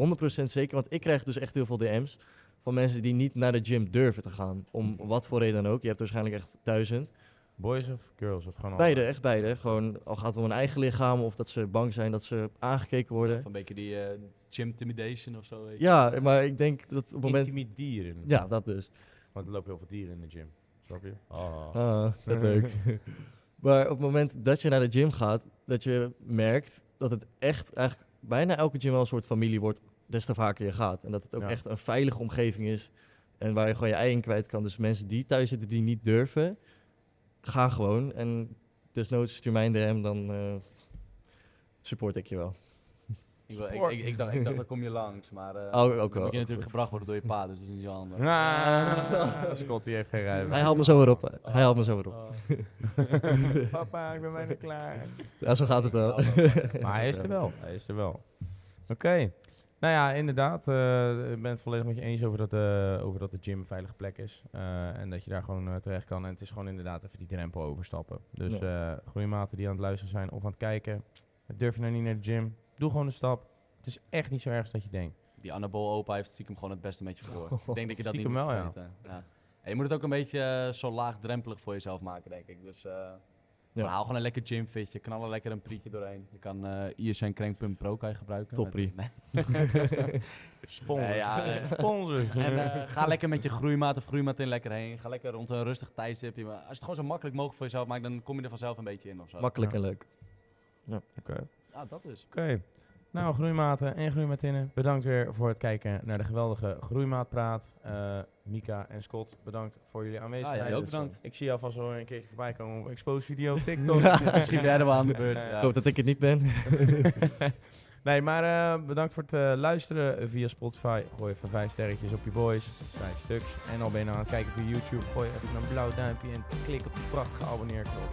[SPEAKER 1] zeker, want ik krijg dus echt heel veel DM's van mensen die niet naar de gym durven te gaan. Om wat voor reden dan ook. Je hebt waarschijnlijk echt duizend.
[SPEAKER 3] Oh.
[SPEAKER 4] Boys of girls? Of gewoon
[SPEAKER 1] Beide,
[SPEAKER 4] allebei?
[SPEAKER 1] echt beide. Gewoon, al gaat het om hun eigen lichaam of dat ze bang zijn dat ze aangekeken worden.
[SPEAKER 3] Of een beetje die eh gym intimidation of zo. Weet je.
[SPEAKER 1] Ja, eh, maar ik denk dat op het moment...
[SPEAKER 4] Intimideren.
[SPEAKER 1] Ja, dat dus.
[SPEAKER 4] Want er lopen heel veel dieren in de gym. Snap je? Oh.
[SPEAKER 1] Ah, dat leuk. maar op het moment dat je naar de gym gaat, dat je merkt dat het echt eigenlijk bijna elke gym wel een soort familie wordt, des te vaker je gaat. En dat het ook
[SPEAKER 4] Ja.
[SPEAKER 1] echt een veilige omgeving is en waar je gewoon je ei in kwijt kan. Dus mensen die thuis zitten die niet durven, ga gewoon. En desnoods stuur mij een DM, dan eh, support ik je wel.
[SPEAKER 3] Ik, wil- ik,
[SPEAKER 4] Sport.
[SPEAKER 3] ik, ik dacht, ik dacht, dan
[SPEAKER 1] [laughs]
[SPEAKER 3] kom je langs. Maar eh
[SPEAKER 1] Oh, ook wel,
[SPEAKER 3] dan moet je natuurlijk
[SPEAKER 1] goed.
[SPEAKER 3] gebracht worden door je pa, dus dat is niet zo handig.
[SPEAKER 4] [laughs] Ah, Scott die heeft geen rijbewijs.
[SPEAKER 1] [laughs] Hij haalt me zo weer op. Hij haalt me zo weer op.
[SPEAKER 3] Oh.
[SPEAKER 4] Papa, ik ben bijna klaar.
[SPEAKER 1] Ja, zo gaat het wel.
[SPEAKER 4] Maar
[SPEAKER 2] Maar hij is er wel. Hij is er wel. Oké. Nou ja, inderdaad. eh, ik ben het volledig met je eens over dat, eh, over dat de gym een veilige plek is. Eh, en dat je daar gewoon eh, terecht kan. En het is gewoon inderdaad even die drempel overstappen. Dus eh groeimaten die aan het luisteren zijn of aan het kijken. Durf je nou niet naar de gym? Doe gewoon een stap. Het is echt niet zo erg als dat je denkt.
[SPEAKER 3] Die Annabel opa heeft stiekem gewoon het beste met je
[SPEAKER 2] [laughs]
[SPEAKER 3] voor. Ik denk dat je dat niet
[SPEAKER 2] Stiekem wel,
[SPEAKER 3] moet
[SPEAKER 2] ja.
[SPEAKER 3] vergeten. Ja. En je moet het ook een beetje eh, zo laagdrempelig voor jezelf maken, denk ik. Dus eh gewoon haal gewoon een lekker gymfitje, knal er lekker een prietje doorheen. Je kan eh ISN Crank Pump Pro kan je gebruiken.
[SPEAKER 1] Topprie.
[SPEAKER 3] Met-
[SPEAKER 2] Sponsors.
[SPEAKER 3] Nee, ja, eh,
[SPEAKER 2] Sponsors.
[SPEAKER 3] [laughs] en eh, ga lekker met je groeimaat of groeimaat in lekker heen. Ga lekker rond een rustig tijdstipje. Maar als je het gewoon zo makkelijk mogelijk voor jezelf maakt, dan kom je er vanzelf een beetje in of zo.
[SPEAKER 1] [laughs] Makkelijk en leuk.
[SPEAKER 2] Oké.
[SPEAKER 3] ja, dat is.
[SPEAKER 2] Oké. Nou, groeimaten en groeimatinnen, bedankt weer voor het kijken naar de geweldige Groeimaatpraat. Eh Mika en Scott, bedankt voor jullie
[SPEAKER 3] Ah,
[SPEAKER 2] aanwezigheid.
[SPEAKER 3] ja, ook bedankt.
[SPEAKER 2] Ik zie jou vast wel een keertje voorbij komen op Expose Video
[SPEAKER 3] [laughs]
[SPEAKER 2] op TikTok. Eh,
[SPEAKER 3] Misschien ben jij er wel aan de beurt.
[SPEAKER 1] Ik
[SPEAKER 3] Ja.
[SPEAKER 1] hoop dat ik het niet ben.
[SPEAKER 2] nee, maar eh, bedankt voor het eh, luisteren via Spotify. Gooi even vijf sterretjes op je boys. Vijf stuks. En al ben je nou aan het kijken via YouTube, gooi even een blauw duimpje en klik op die prachtige abonneerknop.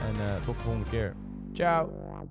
[SPEAKER 2] En eh, tot de volgende keer. Ciao!